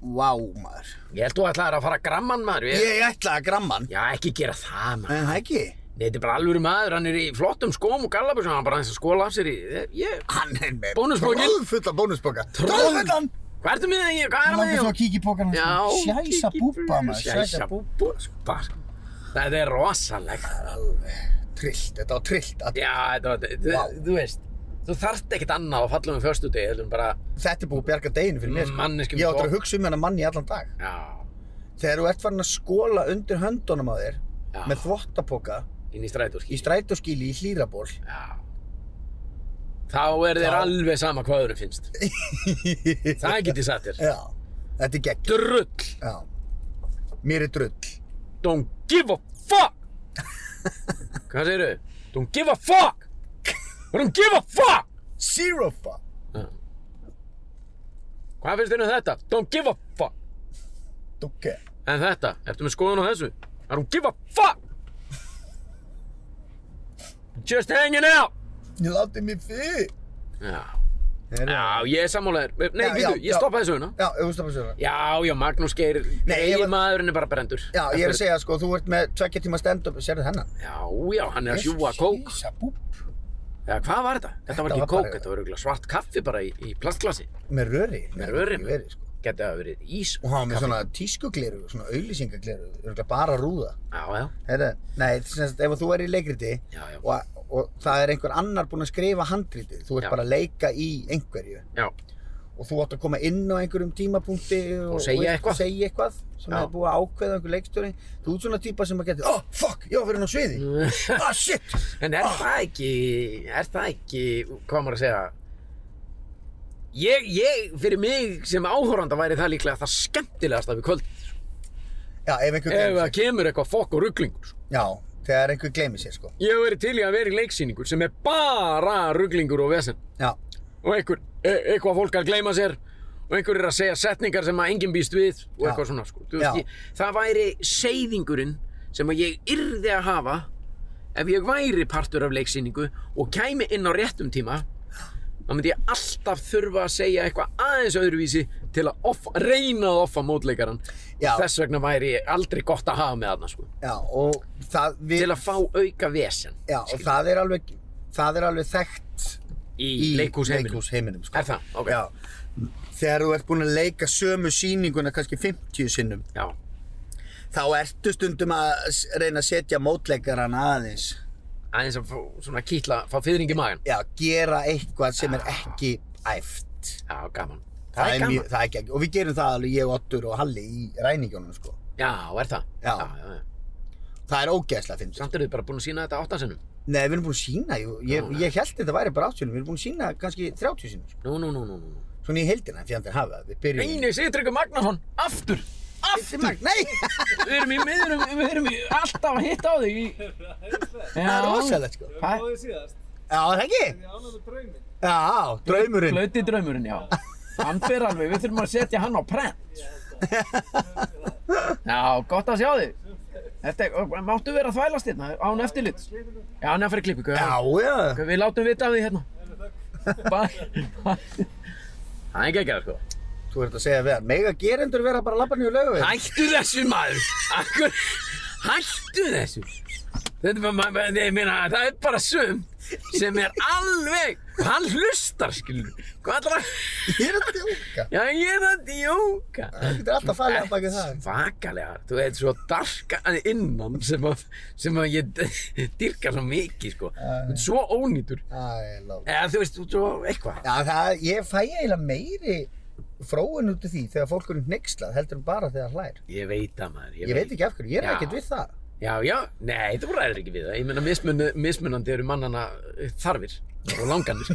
[SPEAKER 2] Vá maður.
[SPEAKER 1] Ég held þú ætlaðir að fara að gramma hann maður. Ég...
[SPEAKER 2] Ég ætla að gramma hann.
[SPEAKER 1] Já, ekki gera það maður.
[SPEAKER 2] En það ekki.
[SPEAKER 1] Nei, þetta er bara alvöru maður, hann er í flottum skóm og gallabusum, hann er bara aðeins að skóla af sér í... Ég...
[SPEAKER 2] Hann er með
[SPEAKER 1] Bónuspokin.
[SPEAKER 2] tróðfulla bónusboka.
[SPEAKER 1] Troðfull-
[SPEAKER 2] Tróðfullan.
[SPEAKER 1] Hvað ertu með það? Hvað er það
[SPEAKER 2] Hann
[SPEAKER 1] með
[SPEAKER 2] langar
[SPEAKER 1] það?
[SPEAKER 2] svo að kíkja í bókan
[SPEAKER 1] Já,
[SPEAKER 2] hans. Sjæsa
[SPEAKER 1] kikki-
[SPEAKER 2] búbba maður.
[SPEAKER 1] Sjæsa búbba, sko. Bara, sko. Þetta er rosalegt.
[SPEAKER 2] Trillt, þetta var trillt. að-
[SPEAKER 1] Já, þetta var, þú,
[SPEAKER 2] Vá.
[SPEAKER 1] þú veist, þú þarft ekkert annað á fallum um förstu degi, heldur en bara,
[SPEAKER 2] Þetta er búið að bjarga deginu fyrir mér. sko.
[SPEAKER 1] Manneskjum
[SPEAKER 2] Ég áttur að
[SPEAKER 1] bók.
[SPEAKER 2] hugsa um hennar mann í allan dag.
[SPEAKER 1] já,
[SPEAKER 2] Þegar þú ert farin að skóla undir höndunum á þér
[SPEAKER 1] já,
[SPEAKER 2] með þvottapoka
[SPEAKER 1] inn í strætóski.
[SPEAKER 2] í strætóskíli í hlýraból
[SPEAKER 1] Já. Þá er þér
[SPEAKER 2] Já.
[SPEAKER 1] alveg sama hvað öðrum finnst. Það get ég sagt þér.
[SPEAKER 2] Já, þetta er gegn
[SPEAKER 1] Drull,
[SPEAKER 2] Já, mér er drull
[SPEAKER 1] don't give a fuck! Hvað segirðu? Don't give a fuck! Don't give a fuck!
[SPEAKER 2] Zero fuck
[SPEAKER 1] Hvað finnst þér um þetta? Don't give a fuck.
[SPEAKER 2] Ok
[SPEAKER 1] En þetta, ertu með skoðun á þessu? I don't give a fuck! Just hanging out!
[SPEAKER 2] Ég láti mér fyrir
[SPEAKER 1] Já,
[SPEAKER 2] Heyrðu.
[SPEAKER 1] já ég er sammálaður. Nei,
[SPEAKER 2] Já,
[SPEAKER 1] býtu,
[SPEAKER 2] já,
[SPEAKER 1] ég
[SPEAKER 2] já.
[SPEAKER 1] stoppaði þessu huna.
[SPEAKER 2] Já, ef þú stafar sér það
[SPEAKER 1] Já, já, Magnús Geir,
[SPEAKER 2] Nei, ég var-
[SPEAKER 1] eigin maðurinn er bara brendur.
[SPEAKER 2] Já, ég er að segja sko, þú ert með tvekja tíma stand-up, sérðu þennan?
[SPEAKER 1] Já, já, hann er að sjúa kók.
[SPEAKER 2] Sýsa búb,
[SPEAKER 1] Já, hvað var þetta? Þetta var
[SPEAKER 2] Þetta
[SPEAKER 1] ekki
[SPEAKER 2] var
[SPEAKER 1] kók,
[SPEAKER 2] bara-
[SPEAKER 1] þetta var örugglega svart kaffi bara í, í plastglasi.
[SPEAKER 2] með röri
[SPEAKER 1] Með röri.
[SPEAKER 2] Með röri, sko
[SPEAKER 1] Gæti að hafa verið ís.
[SPEAKER 2] Og hann var með svona tískugleru, svona auðlýsingagleru, örgulega bara rúða
[SPEAKER 1] Já, já,
[SPEAKER 2] Heyrðu, nei, sem sagt, ef þú er í leikriti
[SPEAKER 1] já, já.
[SPEAKER 2] og, og það er einhver annar búinn að skrifa handritið þú ert
[SPEAKER 1] Já.
[SPEAKER 2] bara að leika í einhverju
[SPEAKER 1] Já,
[SPEAKER 2] og þú átt að koma inn á einhverjum tímapunkti og,
[SPEAKER 1] Og segja eitthvað.
[SPEAKER 2] segja eitthvað sem
[SPEAKER 1] Já.
[SPEAKER 2] hefur búið að ákveða einhver leikstjóri þú ert svona típa sem að geta oh fuck, ég var fyrir ná
[SPEAKER 1] (laughs)
[SPEAKER 2] sviði ah shit
[SPEAKER 1] En er það ekki, er það ekki, hvað á maður að segja, ég, ég, fyrir mig sem áhoranda væri það líklega það skemmtilegasta við kvöld.
[SPEAKER 2] já, ef
[SPEAKER 1] Ef
[SPEAKER 2] einhver gleymir
[SPEAKER 1] það
[SPEAKER 2] sér
[SPEAKER 1] kemur eitthvað fokk og rugglingur.
[SPEAKER 2] já, þegar einhver gleymir sér sko
[SPEAKER 1] Ég hef verið til í að vera í leiksýningu sem er bara rugglingur og vesen.
[SPEAKER 2] já,
[SPEAKER 1] Og einhver, e eitthvað fólk að gleyma sér og einhver er að segja setningar sem að enginn býst við og
[SPEAKER 2] Já.
[SPEAKER 1] eitthvað svona, sko. Þú
[SPEAKER 2] Já.
[SPEAKER 1] Veist, ég, það væri seyðingurinn sem að ég yrði að hafa ef ég væri partur af leiksýningu og kæmi inn á réttum tíma þá myndi ég alltaf þurfa að segja eitthvað aðeins öðruvísi til að offa, reyna að offa mótleikaran
[SPEAKER 2] Já.
[SPEAKER 1] og þess vegna væri aldrei gott að hafa með þarna sko.
[SPEAKER 2] já, og það við,
[SPEAKER 1] til að fá auka vesen
[SPEAKER 2] já, og það er alveg það er alveg þekkt
[SPEAKER 1] í,
[SPEAKER 2] í
[SPEAKER 1] í leikhúsheiminum
[SPEAKER 2] leikhúsheiminum, sko.
[SPEAKER 1] er það? ok
[SPEAKER 2] Já. þegar þú ert búinn að leika sömu sýninguna kannski 50 sinnum
[SPEAKER 1] Já.
[SPEAKER 2] þá ertu stundum að s- reyna að setja mótleikaran aðeins
[SPEAKER 1] aðeins að fá, svona kýtla, fá fyrring í magan
[SPEAKER 2] já, gera eitthvað sem er ekki æft
[SPEAKER 1] já, gaman það,
[SPEAKER 2] það er, mjög,
[SPEAKER 1] gaman
[SPEAKER 2] það er ekki, og við gerum það alveg ég, Ottur og Halli í ræningjónum sko.
[SPEAKER 1] já, er það?
[SPEAKER 2] Já.
[SPEAKER 1] Já, já, já.
[SPEAKER 2] það er ógeðslega fyndið.
[SPEAKER 1] samt eru þið bara búin að sína þetta áttasinnum
[SPEAKER 2] nei, við erum búin að sína, ég, ég,
[SPEAKER 1] Já.
[SPEAKER 2] ég held þetta væri bara áttunum við erum búin að sína kannski 30 sinum sko.
[SPEAKER 1] nú, nú, nú, nú, nú
[SPEAKER 2] svona í heildina fyrir hann fyrir hafa við byrjum
[SPEAKER 1] Einu Sigtryggur Magnason, aftur Aftur,
[SPEAKER 2] Mag, nei, (laughs)
[SPEAKER 1] við erum í miðurum, við erum í alltaf að hitta á þig í...
[SPEAKER 2] það er rosalegt sko Já,
[SPEAKER 4] Við höfum náðið síðast.
[SPEAKER 2] er það ekki?
[SPEAKER 4] Við ánum með drauminn.
[SPEAKER 2] Já, draumurinn
[SPEAKER 1] Blöti draumurinn, já Hann fer alveg, við þurfum að setja hann á prent Já, gott að sjá þig Þetta, er- máttu vera að þvælast hérna án eftirlit Já, hann er að fara í klippingu
[SPEAKER 2] (laughs) Já, já,
[SPEAKER 1] Við látum vita af því
[SPEAKER 2] (laughs)
[SPEAKER 1] hérna Bara- bara- Það er ekki að gera sko
[SPEAKER 2] þú ert að segja við hann Mega gerendur vera bara að labba nýju lögu
[SPEAKER 1] Hættu þessu maður Akkur, Hættu þessu Þetta er bara, ma- ma- ég meina, það er bara sum sem er alveg, hann hlustar, skilur, hvað ætlar að,
[SPEAKER 2] Ég er að djóka
[SPEAKER 1] já, ég er að djóka.
[SPEAKER 2] Það getur alltaf að falla að baka það
[SPEAKER 1] Svakalega, þú veit, svo darka að innan sem að, sem að ég dyrka svo mikið, sko, Þú ert svo ónýtur,
[SPEAKER 2] Æ, lók
[SPEAKER 1] eða þú veist, þú ert svo eitthvað.
[SPEAKER 2] Já, það, ég fæ eiginlega meiri fróin út af því þegar fólk er hneykslað heldur en bara þegar það hlær.
[SPEAKER 1] Ég veit það maður,
[SPEAKER 2] Ég veit ekki af hverju, ég er
[SPEAKER 1] Já.
[SPEAKER 2] ekkert við það. (laughs)
[SPEAKER 1] Já, já, nei, þú ræður ekki við það. Ég meina, mismun, mismunandi eru mannana eh, þarfir og langanir.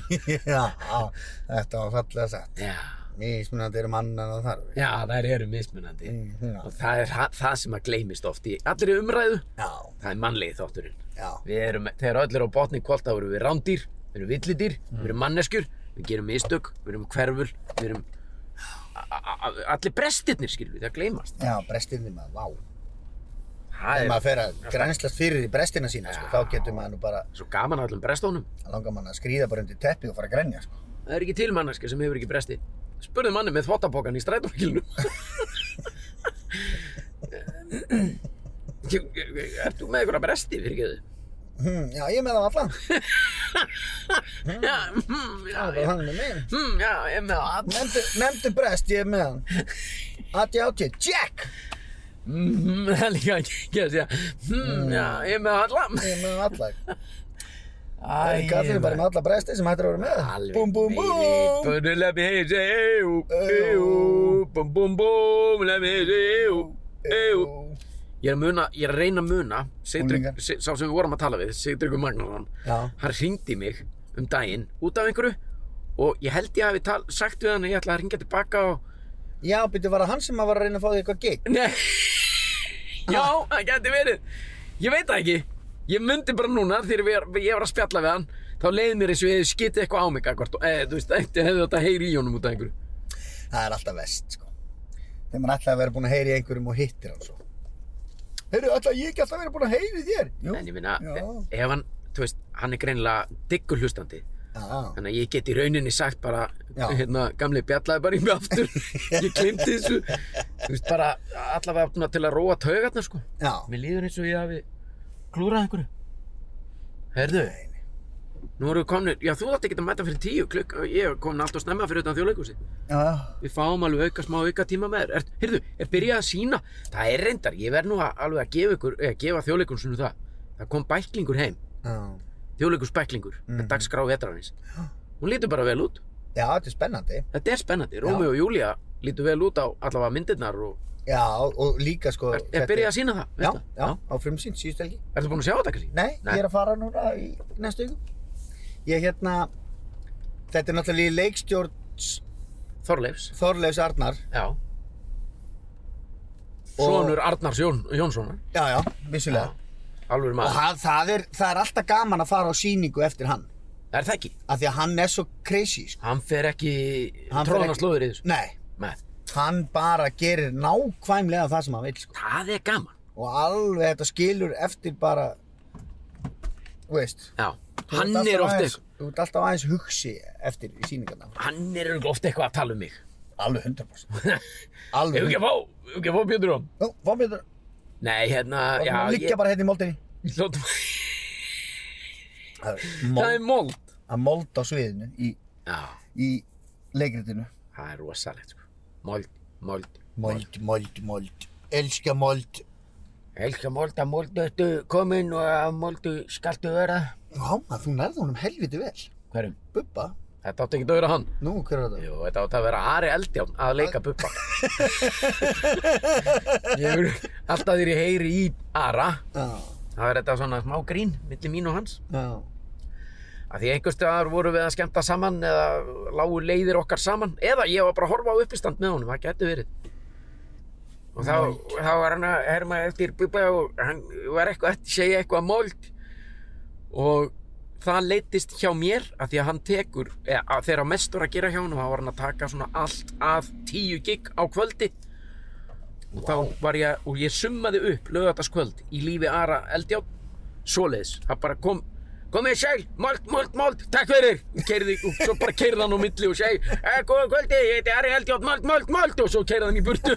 [SPEAKER 2] Já, þetta var fallega sagt.
[SPEAKER 1] já,
[SPEAKER 2] Mísmunandi eru mannan og þarfir.
[SPEAKER 1] já, þær eru mismunandi.
[SPEAKER 2] Mhm.
[SPEAKER 1] Og það er ha- það sem að gleymist oft í allri umræðu.
[SPEAKER 2] Já,
[SPEAKER 1] Það er mannlegi þátturinn.
[SPEAKER 2] já,
[SPEAKER 1] Við erum, þegar öll eru á botni kvöld, þá erum við rándýr, við erum villidýr, við erum manneskjur, við gerum mistök, við erum hverfur, við erum... a- a- a- Allir brestirnir, skilur við, það gleymast.
[SPEAKER 2] já, brestinni maður, vá.
[SPEAKER 1] Það
[SPEAKER 2] Þegar
[SPEAKER 1] er
[SPEAKER 2] maður fer að grænslast fyrir í brestina sína, sko, þá getur maður nú bara,
[SPEAKER 1] svo gaman að öllum brestónum.
[SPEAKER 2] langar maður að skríða bara undir teppi og fara að grænja, sko.
[SPEAKER 1] Það er ekki til manneska sem hefur ekki bresti. Spurðu manni með þvottapokan í strætókilinu. Ert þú með einhverja bresti, fyrir ekki
[SPEAKER 2] Hm, já, ég er með það allan.
[SPEAKER 1] Já, hmm, já,
[SPEAKER 2] Það er
[SPEAKER 1] ég,
[SPEAKER 2] bara hann með mig.
[SPEAKER 1] hmm, já, ég er með á all.
[SPEAKER 2] Nefndu, nefndu brest, ég er með hann. Ati átti, Jack!
[SPEAKER 1] (laughs) Mhm, Það er líka ekki að segja, hmm, já, ég er með á alla.
[SPEAKER 2] Ég er með það allan.
[SPEAKER 1] Æ,
[SPEAKER 2] Það er kallið bara með alla bresti sem hættir að vera með. Búm, búm, búm.
[SPEAKER 1] Búm, let me hear you say, ew, ew, búm, búm, búm, let me hear you say, ew, ew. Ég er að muna, ég er að reyna að muna, Sigtrygg,
[SPEAKER 2] Unglingar.
[SPEAKER 1] sá sem við vorum að tala við, Sigtryggur Magnússon,
[SPEAKER 2] Já.
[SPEAKER 1] hann hringdi í mig um daginn út af einhverju og ég held ég hafi tal, sagt við hann að ég ætla að hringja tilbaka og...
[SPEAKER 2] Já, byrju, var það hann sem að var að reyna að fá því eitthvað gig?
[SPEAKER 1] Nei, já, það geti verið. Ég veit það ekki. Ég myndi bara núna þegar við- ég var að spjalla við hann, þá leið mér eins og ég hefði skitið eitthvað á mig akkvart og eh, þú veist, ég hefði þetta heyri í honum út af einhverju.
[SPEAKER 2] Það er alltaf vest, sko. Þegar maður ætlaði að vera búinn að heyra í einhverjum og hittir hann svo. Heyrðu, ætlaði ég ekki alltaf að vera búinn að heyra í þér? Jú.
[SPEAKER 1] En ég minna,
[SPEAKER 2] Já.
[SPEAKER 1] ef hann, þú veist, hann er greinilega diggur hlustandi.
[SPEAKER 2] Já.
[SPEAKER 1] Þannig að ég get í rauninni sagt bara,
[SPEAKER 2] Já.
[SPEAKER 1] hérna, gamli bjallaði bara í mig
[SPEAKER 2] (laughs)
[SPEAKER 1] aftur. ég glimti þessu. Þú veist, bara allavega svona til að róa taugarna, sko.
[SPEAKER 2] Já.
[SPEAKER 1] Mér líður eins og ég hafi klúrað einhverju. Herðu, nú erum við komnir, já, þú þátt ekki að mæta fyrir tíu klukk, ég er komin alltaf snemma fyrir utan þjóðleikúsi.
[SPEAKER 2] Já.
[SPEAKER 1] Við fáum alveg auka smá auka tíma með þér. Er, heyrðu, er byrjað að sína. Það er reyndar, ég verð nú að, alveg að gefa, ykkur, eh, gefa þjóðleikúsinu það. Það kom bæklingur heim.
[SPEAKER 2] Já.
[SPEAKER 1] þjóðleikur speklingur með
[SPEAKER 2] Mhm.
[SPEAKER 1] dagskrá vetrarins hún lítur bara vel út
[SPEAKER 2] Já, þetta er spennandi.
[SPEAKER 1] þetta er spennandi, Rómi og Júlia lítur vel út á allavega myndirnar og
[SPEAKER 2] Já, og líka sko...
[SPEAKER 1] er, er byrjað að sína það,
[SPEAKER 2] Já,
[SPEAKER 1] veistu?
[SPEAKER 2] já, á frumsýnd, síðust helgi.
[SPEAKER 1] ertu búin að sjá þetta kannski?
[SPEAKER 2] Nei,
[SPEAKER 1] Nei.
[SPEAKER 2] ég er að fara núna í næstu ykkur. Ég hérna... Þetta er náttúrulega í leikstjórns
[SPEAKER 1] Þorleifs,
[SPEAKER 2] Þorleifs Arnar.
[SPEAKER 1] já Sonur Arnars Jón, Jónssonar
[SPEAKER 2] Já, já, vissulega.
[SPEAKER 1] alveg
[SPEAKER 2] Og
[SPEAKER 1] maður,
[SPEAKER 2] það, það, er, það er alltaf gaman að fara á sýningu eftir hann.
[SPEAKER 1] er það ekki?
[SPEAKER 2] Af því að hann er svo crazy, sko.
[SPEAKER 1] hann fer ekki
[SPEAKER 2] Hann fer
[SPEAKER 1] tróðan
[SPEAKER 2] ekki-
[SPEAKER 1] að slóður í þessu
[SPEAKER 2] Nei,
[SPEAKER 1] Nei,
[SPEAKER 2] hann bara gerir nákvæmlega það sem hann vil, sko.
[SPEAKER 1] það er gaman
[SPEAKER 2] Og alveg þetta skilur eftir bara, þú veist.
[SPEAKER 1] já,
[SPEAKER 2] þú
[SPEAKER 1] hann
[SPEAKER 2] ert alltaf
[SPEAKER 1] er ofta
[SPEAKER 2] aðeins-
[SPEAKER 1] eitthvað
[SPEAKER 2] Þú ert alltaf aðeins hugsi eftir í sýningarna.
[SPEAKER 1] hann er örugglega oft eitthvað að tala um mig
[SPEAKER 2] Alveg 100%. (laughs)
[SPEAKER 1] hefur
[SPEAKER 2] Alveg.
[SPEAKER 1] ekki að fá, hefur ekki að fá Björn Róm
[SPEAKER 2] Nú, fá mér þetta.
[SPEAKER 1] nei, hérna,
[SPEAKER 2] Það
[SPEAKER 1] já,
[SPEAKER 2] er
[SPEAKER 1] ég,
[SPEAKER 2] líka bara hérna í moldinni.
[SPEAKER 1] ég lótum,
[SPEAKER 2] Það er
[SPEAKER 1] það
[SPEAKER 2] mold-
[SPEAKER 1] er mold
[SPEAKER 2] Að molda á sviðinu í,
[SPEAKER 1] já,
[SPEAKER 2] í leikritinu.
[SPEAKER 1] Það er rosalegt sko. Mold, mold.
[SPEAKER 2] Mold, mold, mold. Elska mold.
[SPEAKER 1] Elskar mold að moldu ertu komin og að moldu skaltu vera.
[SPEAKER 2] Já, maður, þú nærði honum helviti vel.
[SPEAKER 1] Hverjum?
[SPEAKER 2] Bubba?
[SPEAKER 1] Þetta átti ekki að vera hann.
[SPEAKER 2] Nú, hver er þetta?
[SPEAKER 1] Jú, þetta átti að vera Ari Eldján að leika bubba. ég er alltaf þegar ég heyri í Ara.
[SPEAKER 2] Já,
[SPEAKER 1] Það er þetta svona smá grín millir mín og hans.
[SPEAKER 2] já.
[SPEAKER 1] Að Af því einhvers staðar vorum við að skemmta saman eða lágu leiðir okkar saman eða ég var bara að horfa á uppistand með honum, það getur verið. Og þá, þá var hann að herma eftir Bubba og hann var eitthvað að segja eitthvað mold og það leittist hjá mér af því að hann tekur, eða að þegar að mest voru að gera hjá honum, þá var hann að taka svona allt að tíu gig á kvöldi og þá var ég, og ég summaði upp lögataskvöld í lífi Ara Eldjátt svoleiðis, það bara kom komið sæl, mold, mold, mold, takk fyrir kerði, og svo bara keirði hann á milli og segi, eh, góða kvöldi, ég heiti Ari Eldjátt mold, mold, mold, og svo keirði hann í burtu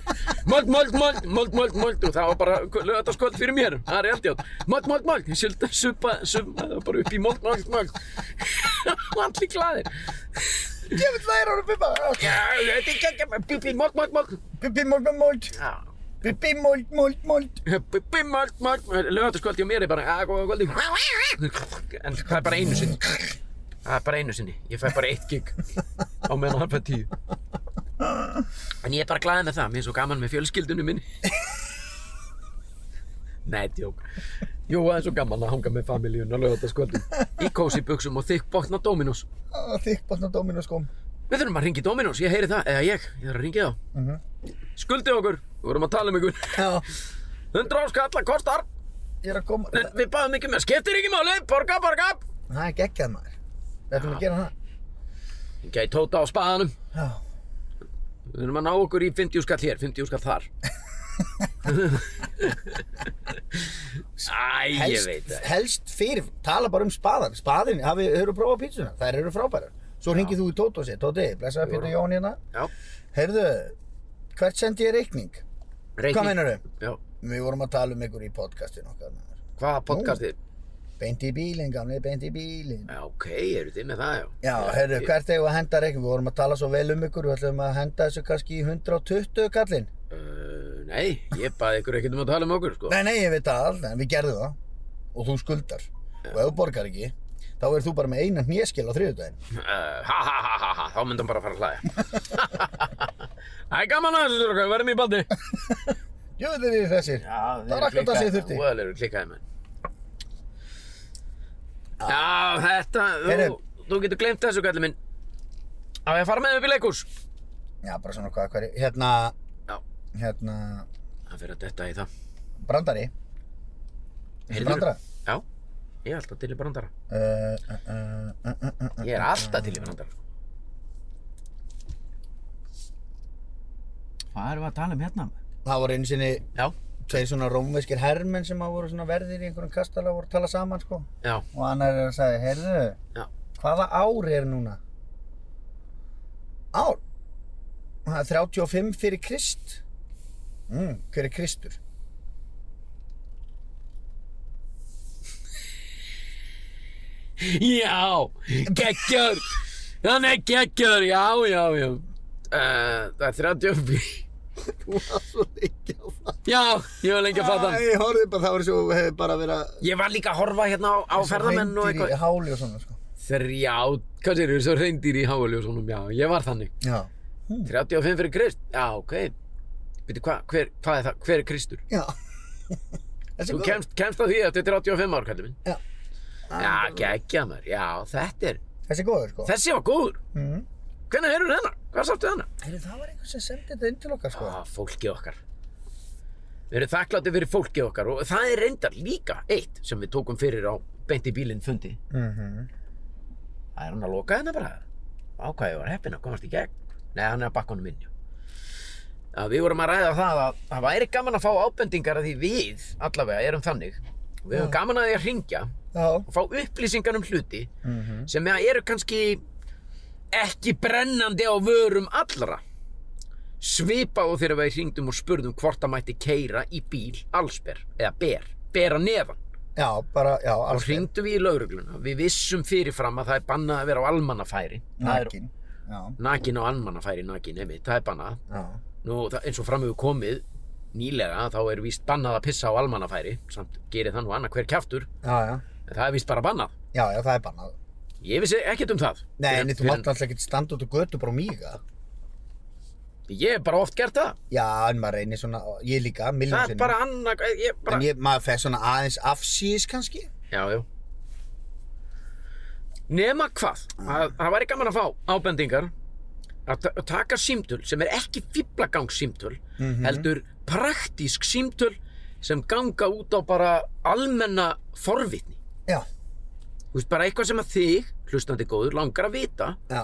[SPEAKER 1] mold, mold, mold, mold, mold, mold og það var bara lögataskvöld fyrir mér Ari Eldjátt, mold, mold, mold, ég sylda supa, supa, bara upp í mold, mold, (laughs) mold allir glæðir
[SPEAKER 2] Djöfull læra hann að bubba.
[SPEAKER 1] já, þetta er geggjum, bubbi, mold, mold, mold
[SPEAKER 2] Bubbi mold mold.
[SPEAKER 1] já,
[SPEAKER 2] Bubbi mold mold mold.
[SPEAKER 1] Bimmalt, malt, lögataskvöldi og mér er bara að góða kvöldi en það er bara einu sinni það er bara einu sinni, ég fæ bara eitt gig á meðan hann fæ tíu en ég er bara glaðið með það mér er svo gaman með fjölskyldunum minni Nei, djók Jú, það er svo gaman að hanga með familíun á lögataskvöldi í kósi buksum og þykk botna Dominos
[SPEAKER 2] Þykk botna dóminu sko. skóm.
[SPEAKER 1] Við þurfum að ringi Dominos, ég heyri það eða ég, ég þarf að ringi þá Skuldið okkur, við vorum að tala um ykkur
[SPEAKER 2] Já,
[SPEAKER 1] 100 áskalla kostar
[SPEAKER 2] ég er að koma.
[SPEAKER 1] En við baðum ekki með, skiptir ekki máli, borga, borga
[SPEAKER 2] Það er geggjað maður. Við ætlum að gera það.
[SPEAKER 1] Gæi tóta á spaðanum
[SPEAKER 2] Já.
[SPEAKER 1] Við erum að ná okkur í 50 skall hér, 50 skall þar Æ, ég veit það
[SPEAKER 2] helst fyrir, tala bara um spaðan. Spaðin, hafið, hefur prófað pítsuna? Þær eru frábærar. Svo ringið þú í Tóta og sér, Tóti, blessaði Pétur Jón hérna.
[SPEAKER 1] Já,
[SPEAKER 2] Heyrðu, hvert sendi ég reikning?
[SPEAKER 1] reikning
[SPEAKER 2] Hvað meinarðu?
[SPEAKER 1] Já,
[SPEAKER 2] Við vorum að tala um ykkur í podcastinu okkar. maður.
[SPEAKER 1] hvaða podcastið?
[SPEAKER 2] Beint í bílinn, gamli, beint í bílinn.
[SPEAKER 1] Já, ok, eru þið með það, já
[SPEAKER 2] Já, heyrðu, hvert eigum við að henda reikning? Við vorum að tala svo vel um ykkur, við ætlum að henda þessu kannski í 120 kallinn.
[SPEAKER 1] Uh, nei, ég baði ykkur ekkert um að tala um okkur, sko
[SPEAKER 2] Nei, nei, ég veit það alltaf, en við gerðum það. Og þú skuldar. Og ef þú borgar ekki, þá er þú bara með einan hnéskil á þriðjudaginn.
[SPEAKER 1] Uh, ha, ha, ha, ha, ha, þá myndum bara að fara að hlæja (laughs) Það er gaman að þessu, strókar, verðum í bandi
[SPEAKER 2] Jú, þeir eru þessir. það er akkurat það sem ég þurfti.
[SPEAKER 1] Það eru klikkaði menn. Já, þetta, þú,
[SPEAKER 2] Heyrðu.
[SPEAKER 1] þú getur glemt þessu, kallið minn. Á ég að fara með upp í leikús?
[SPEAKER 2] Já, bara svona hvað, hverju, hérna,
[SPEAKER 1] Já,
[SPEAKER 2] hérna,
[SPEAKER 1] það fyrir að detta í það.
[SPEAKER 2] brandari. Viltu
[SPEAKER 1] Heyrðu.
[SPEAKER 2] brandara?
[SPEAKER 1] Já, ég er alltaf til í brandara.
[SPEAKER 2] Uh, uh, uh, uh, uh, uh, uh.
[SPEAKER 1] Ég er alltaf til í brandara. Hvað erum við að tala um hérna?
[SPEAKER 2] Það voru einu sinni
[SPEAKER 1] Já,
[SPEAKER 2] tveir svona rómveskir herrmenn sem að voru svona verðir í einhverjum kastala og voru að tala saman, sko.
[SPEAKER 1] já,
[SPEAKER 2] Og annar er að segja, heyrðu,
[SPEAKER 1] Já.
[SPEAKER 2] hvaða ár er núna? Ár? Það er 35 fyrir Krist. Mm, hver er Kristur?
[SPEAKER 1] já, geggjör. Hann er geggjör, já, já, já. Uh, það er 30
[SPEAKER 2] Þú var svo lengi á það.
[SPEAKER 1] Já, ég var lengi að fatta hann.
[SPEAKER 2] Ég horfði bara, það var svo, hefði bara verið að...
[SPEAKER 1] Ég var líka að horfa hérna á, á ferðamenn og
[SPEAKER 2] Hændir
[SPEAKER 1] eitthvað.
[SPEAKER 2] í háli og svona, sko.
[SPEAKER 1] Þrjá, hvað sér, svo reyndir í háli og svonum, já, ég var þannig.
[SPEAKER 2] Já.
[SPEAKER 1] 35 fyrir Krist, já, ok. Veitu, hva, hver, hvað er það, hver er Kristur?
[SPEAKER 2] Já. Þessi
[SPEAKER 1] Þú
[SPEAKER 2] góð.
[SPEAKER 1] kemst, kemst að því að þetta er 85 ár, kallið minn.
[SPEAKER 2] Já.
[SPEAKER 1] Já, geggja mér, já, þetta er,
[SPEAKER 2] Þessi góður, sko.
[SPEAKER 1] þessi var góður.
[SPEAKER 2] Mhm.
[SPEAKER 1] Hvernig heyrur hennar? Hvað sáttu hennar?
[SPEAKER 2] Heyrðu, það var einhver sem sendi þetta inn til okkar, sko.
[SPEAKER 1] Já, fólkið okkar. Við erum þakklátti fyrir fólkið okkar og það er reyndar líka eitt sem við tókum fyrir á beint í bílinn fundi.
[SPEAKER 2] Mhm.
[SPEAKER 1] Það er hann að loka hérna bara. Ákvæði var heppinn að komast í gegn. Nei, hann er að bakka honum inn, já. Að við vorum að ræða það að það væri gaman að fá ábendingar að því við allavega erum þannig. Við höfum gaman að því að ringja
[SPEAKER 2] Já.
[SPEAKER 1] og fá upplýsingar um hluti
[SPEAKER 2] Mhm.
[SPEAKER 1] sem eru kannski ekki brennandi á vörum allra. Svipa og þegar við hringdum og spurðum hvort það mætti keira í bíl allsber eða ber, bera neðan
[SPEAKER 2] Já, bara, já,
[SPEAKER 1] og
[SPEAKER 2] alls.
[SPEAKER 1] hringdum við í laurugluna við vissum fyrirfram að það er bannað að vera á almannafæri Það er-
[SPEAKER 2] Nakin. Já.
[SPEAKER 1] nakin á almannafæri nakin einmitt, það er bannað
[SPEAKER 2] Já.
[SPEAKER 1] Nú, það, eins og fram hefur komið nýlega þá er víst bannað að pissa á almannafæri samt gerir það nú annað hver kjaftur
[SPEAKER 2] Já, já.
[SPEAKER 1] en það er víst bara bannað
[SPEAKER 2] Já, já, það er bannað.
[SPEAKER 1] ég vissi ekkert um það
[SPEAKER 2] Nei,
[SPEAKER 1] Fyrr-
[SPEAKER 2] en þú
[SPEAKER 1] fyrr-
[SPEAKER 2] mátt náttúrulega ekki standa út og götu bara og míga.
[SPEAKER 1] ég hef bara oft gert það
[SPEAKER 2] Já, en maður reynir svona, ég líka, miljón
[SPEAKER 1] það er
[SPEAKER 2] sinni.
[SPEAKER 1] bara annað ég bara...
[SPEAKER 2] En ég, maður fer svona aðeins afsýðis kannski.
[SPEAKER 1] já, já Nema hvað, að, það væri gaman að fá ábendingar að ta- að taka símtöl sem er ekki fýblagang símtöl
[SPEAKER 2] Mhm.
[SPEAKER 1] heldur praktísk símtöl sem ganga út á bara almenna forvitni.
[SPEAKER 2] Já,
[SPEAKER 1] Þú veist, bara eitthvað sem að þig, hlustandi góður, langar að vita
[SPEAKER 2] já.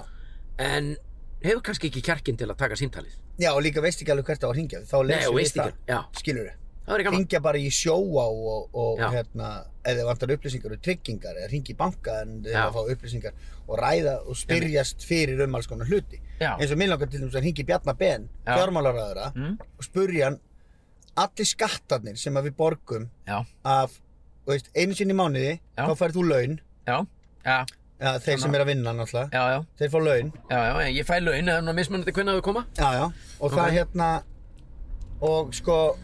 [SPEAKER 1] en hefur kannski ekki kjarkinn til að taka símtalið.
[SPEAKER 2] Já, og líka veist ekki alveg hvert á að hringja. Þá
[SPEAKER 1] Nei,
[SPEAKER 2] lesum
[SPEAKER 1] og
[SPEAKER 2] við
[SPEAKER 1] veist ekki.
[SPEAKER 2] það.
[SPEAKER 1] Já,
[SPEAKER 2] Skilur við.
[SPEAKER 1] það væri gaman.
[SPEAKER 2] Hringja bara í sjóa og, og
[SPEAKER 1] Já.
[SPEAKER 2] hérna, eða þið vantar upplýsingar og tryggingar, eða hringi í banka en þið
[SPEAKER 1] Já.
[SPEAKER 2] að fá upplýsingar og ræða og spyrjast fyrir um alls konar hluti.
[SPEAKER 1] Já.
[SPEAKER 2] Eins og minn langar til þess að hringi Bjarnar Ben,
[SPEAKER 1] Já.
[SPEAKER 2] fjármálaræðara,
[SPEAKER 1] Mm.
[SPEAKER 2] og spurja hann allir skattarnir sem að við borgum
[SPEAKER 1] Já,
[SPEAKER 2] af, þú veist, einu sinni í mánuði,
[SPEAKER 1] Já.
[SPEAKER 2] þá færð þú laun,
[SPEAKER 1] já, já,
[SPEAKER 2] ja, þeir sem er að vinna náttúrulega,
[SPEAKER 1] já, já,
[SPEAKER 2] þeir fá laun,
[SPEAKER 1] já, já, ég fæ laun eða nú mismunandi hvernig þau koma.
[SPEAKER 2] Já, já, og
[SPEAKER 1] Ok.
[SPEAKER 2] það hérna, og sko,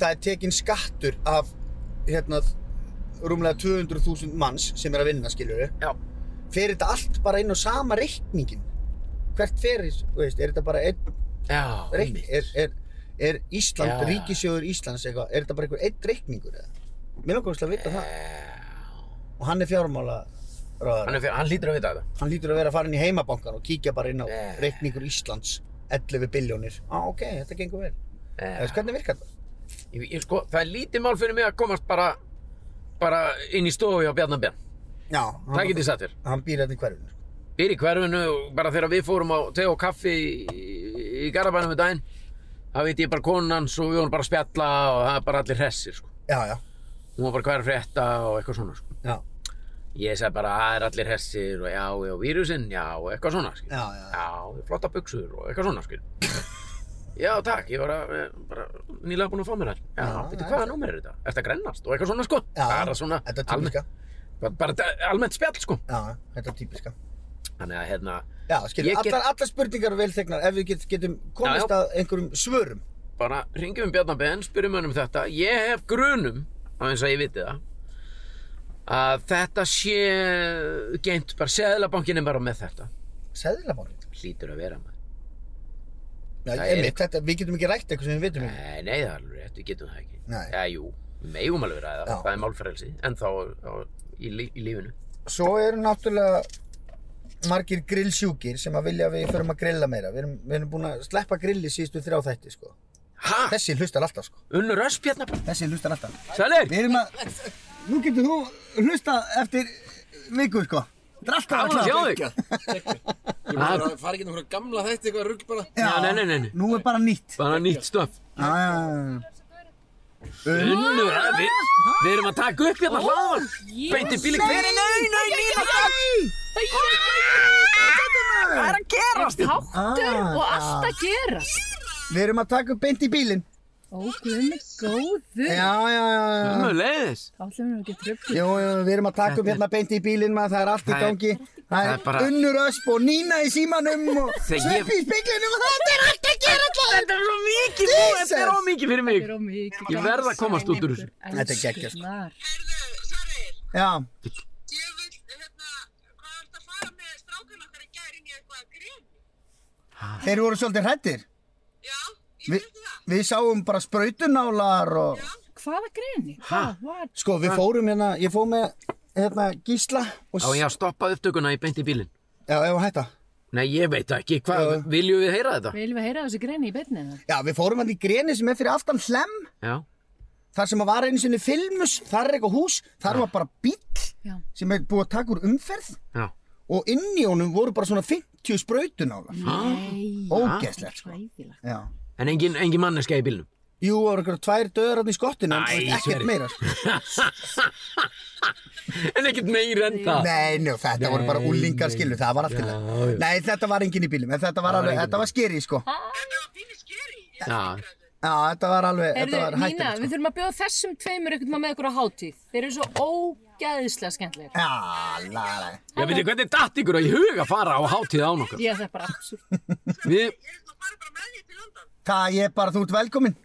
[SPEAKER 2] það er tekinn skattur af, hérna, rúmlega 200.000 manns sem er að vinna, skilur við.
[SPEAKER 1] Já,
[SPEAKER 2] Fer þetta allt bara inn á sama reikningin? Hvert fer, þú veist, er þetta bara einn
[SPEAKER 1] já,
[SPEAKER 2] reikning? Er, er, er Ísland,
[SPEAKER 1] Já.
[SPEAKER 2] ríkisjóður Íslands eitthvað, er þetta bara einhver einn reikningur eða? Mér langar óslega að vita það.
[SPEAKER 1] Eh. Já.
[SPEAKER 2] Og hann er fjármála
[SPEAKER 1] Hann, er, fyrir- hann lítur að vita þetta.
[SPEAKER 2] Hann lítur að vera að fara inn í heimabankan og kíkja bara inn á
[SPEAKER 1] Já.
[SPEAKER 2] reikningur Íslands 11 biljónir. Á, ah, ok, þetta gengur vel. Þú veist sko, hvernig virkar það?
[SPEAKER 1] Ég, ég, sko, það er lítið mál fyrir mig að komast bara, bara inn í stofu hjá Bjarnar Ben.
[SPEAKER 2] Já,
[SPEAKER 1] Það
[SPEAKER 2] hann,
[SPEAKER 1] get ég satt þér.
[SPEAKER 2] hann býr hérna í hverfinu.
[SPEAKER 1] Býr í hverfinu og bara þegar við fórum á te og kaffi í, í Garabænum í daginn. Það veit ég bara konan hans og við vorum bara að spjalla og það er bara allir hressir sko.
[SPEAKER 2] Já, já,
[SPEAKER 1] Hún var bara hvað er að frétta og eitthvað svona sko.
[SPEAKER 2] já,
[SPEAKER 1] Ég sagði bara "Ah, það er allir hressir og já, já, vírusinn, já, og eitthvað svona sko.
[SPEAKER 2] já, já,
[SPEAKER 1] Já, flotta buksur og eitthvað svona skil. Já, takk, ég var að, eh, bara nýlega búinn að fá mér þær. Já,
[SPEAKER 2] Já,
[SPEAKER 1] veitu
[SPEAKER 2] já.
[SPEAKER 1] hvaða númer er þetta? Ertu að grennast og eitthvað svona sko?
[SPEAKER 2] já.
[SPEAKER 1] bara svona,
[SPEAKER 2] Þetta er
[SPEAKER 1] almennt,
[SPEAKER 2] típiska.
[SPEAKER 1] bara, bara þetta- almennt spjall sko.
[SPEAKER 2] Já, já, þetta er típiska.
[SPEAKER 1] Þannig að hérna,
[SPEAKER 2] Já, skilur,
[SPEAKER 1] Ég get-
[SPEAKER 2] allar, allar spurningar er vel þegnar ef við get, getum komist
[SPEAKER 1] Já,
[SPEAKER 2] að einhverjum svörum.
[SPEAKER 1] bara ringjum um Bjarnar Ben, spyrjum hann um þetta. Ég hef grunum, á eins og ég viti það, að þetta sé geimt bara, seðlabankin er bara með þetta.
[SPEAKER 2] Seðlabankin.
[SPEAKER 1] Hlýtur að vera maður.
[SPEAKER 2] Já,
[SPEAKER 1] Það er-
[SPEAKER 2] einmitt, þetta, við getum ekki rætt eitthvað sem við vitum ekki.
[SPEAKER 1] Nei, nei, það er alveg rétt, við getum það ekki.
[SPEAKER 2] Nei.
[SPEAKER 1] Já, jú, við megum alveg ræða,
[SPEAKER 2] Já.
[SPEAKER 1] það er málfrelsi, en þá, þá í, lí- í lífinu.
[SPEAKER 2] Svo eru náttúrulega margir grillsjúkir sem að vilja að við förum að grilla meira. Við erum, við erum búin að sleppa grilli síðustu þrjá þætti, sko.
[SPEAKER 1] Ha?
[SPEAKER 2] Þessi hlustar alltaf, sko.
[SPEAKER 1] Unnur Ösp hérna bara.
[SPEAKER 2] Þessi hlustar alltaf.
[SPEAKER 1] Sælir!
[SPEAKER 2] Við erum að, nú getur þú hlusta eftir viku, sko. Þetta er alltaf að
[SPEAKER 1] Gaman að
[SPEAKER 2] klára.
[SPEAKER 1] sjá þig!
[SPEAKER 5] Ég bara bara fara ekki náttúrulega gamla þetta eitthvað rugg bara.
[SPEAKER 2] Já,
[SPEAKER 1] Ah, Nei, nei, nei, nei.
[SPEAKER 2] Nú er bara nýtt.
[SPEAKER 1] Bara nýtt stöf.
[SPEAKER 2] Já, já, já.
[SPEAKER 1] Unnur, að- eh, við, við erum að taka upp hérna hlaðvarp. Beinti bíli, hver er nei, nei, nei,
[SPEAKER 6] Það er að gerast Háttur
[SPEAKER 2] Ah,
[SPEAKER 6] og allt að gerast
[SPEAKER 2] Við erum að taka upp beint í bílinn.
[SPEAKER 6] Ó, guðmi góður
[SPEAKER 2] Já, já, já, já.
[SPEAKER 1] Unnur leiðis.
[SPEAKER 6] Þá ætlum við nú ekki tröfli
[SPEAKER 2] Jú, jú, við erum að taka upp hérna beint í bílinn maður, það er allt í
[SPEAKER 1] Það er-
[SPEAKER 2] gangi. Það
[SPEAKER 1] það
[SPEAKER 2] er
[SPEAKER 1] er bara-
[SPEAKER 2] unnur ösp og nína í símanum og
[SPEAKER 1] Þegar ég-
[SPEAKER 2] sveppi í speglinum og þetta er allt að gera allar.
[SPEAKER 1] Þetta er svo mikið, nú, þetta er
[SPEAKER 2] Jesus.
[SPEAKER 1] svo mikið fyrir mig.
[SPEAKER 6] Þetta er of mikið.
[SPEAKER 1] Ég verð að komast út úr þessu.
[SPEAKER 2] Þetta er geggjað, sko.
[SPEAKER 6] Elskurnar.
[SPEAKER 7] Herðu, Sverrir,
[SPEAKER 2] Já,
[SPEAKER 7] ég vil, hérna, hvað er að fara með strákan okkar í gær inn í eitthvað grill?
[SPEAKER 2] þeir voru svolítið hrættir.
[SPEAKER 7] Já, ég
[SPEAKER 2] Vi,
[SPEAKER 7] veit það.
[SPEAKER 2] við sáum bara sprautunálar og...
[SPEAKER 6] Hvaða greni? Hvað? Hvað?
[SPEAKER 2] Sko, við fórum hérna, ég fór með hérna gísla og...
[SPEAKER 1] Á ég að stoppa upptökuna í beinti bílin.
[SPEAKER 2] Já, ef að hætta.
[SPEAKER 1] Nei, ég veit það ekki, hvað,
[SPEAKER 2] Já.
[SPEAKER 1] viljum við heyra þetta?
[SPEAKER 6] Viljum við heyra þessu greni í beinni það?
[SPEAKER 2] Já, við fórum hérna í greni sem er fyrir aftan hlem.
[SPEAKER 1] Já,
[SPEAKER 2] Þar sem að var einu sinni filmus, þar er eitthvað hús, þar var bara bíll
[SPEAKER 6] Já.
[SPEAKER 2] sem er búið að taka úr umferð
[SPEAKER 1] já.
[SPEAKER 2] og inn í honum voru bara svona 50 sprautunálar.
[SPEAKER 6] Nei.
[SPEAKER 2] Ógeðslegt, sko.
[SPEAKER 6] Hræðilegt.
[SPEAKER 2] Já.
[SPEAKER 1] En engin, engin manneska í bílnum. (laughs)
[SPEAKER 2] Jú, það voru eitthvað tvær döður hann í skottinu, en
[SPEAKER 1] Æ,
[SPEAKER 2] þú veist, ekkert
[SPEAKER 1] Sverrir.
[SPEAKER 2] meira. Sko.
[SPEAKER 1] En ekkert meira en það.
[SPEAKER 2] Nei, njó, þetta voru bara
[SPEAKER 1] Nei,
[SPEAKER 2] úlingar
[SPEAKER 1] nei.
[SPEAKER 2] skilu, það var allt til það.
[SPEAKER 1] Já, já.
[SPEAKER 2] Nei, þetta var enginn í bílum, en þetta var,
[SPEAKER 1] var
[SPEAKER 2] alveg,
[SPEAKER 1] enginn í
[SPEAKER 2] þetta var skeri, sko. Já,
[SPEAKER 7] Þetta var pínu skeri. Ég
[SPEAKER 1] Já,
[SPEAKER 2] þetta var alveg,
[SPEAKER 6] Herðu,
[SPEAKER 2] þetta var
[SPEAKER 6] Nína,
[SPEAKER 2] hættilegt,
[SPEAKER 6] við
[SPEAKER 2] sko.
[SPEAKER 6] þurfum að bjóða þessum tveimur einhvern veginn með ykkur á hátíð. Þeir eru svo ógæðislega skemmtilegir.
[SPEAKER 2] Já, la, la.
[SPEAKER 1] ég veit hvernig datt ykkur að í huga fara á hátíð án okkar.
[SPEAKER 6] Ég það er bara absúrt.
[SPEAKER 1] Við,
[SPEAKER 7] er hérna að fara bara með því til London.
[SPEAKER 2] Það ég bara, þú ert velkomin.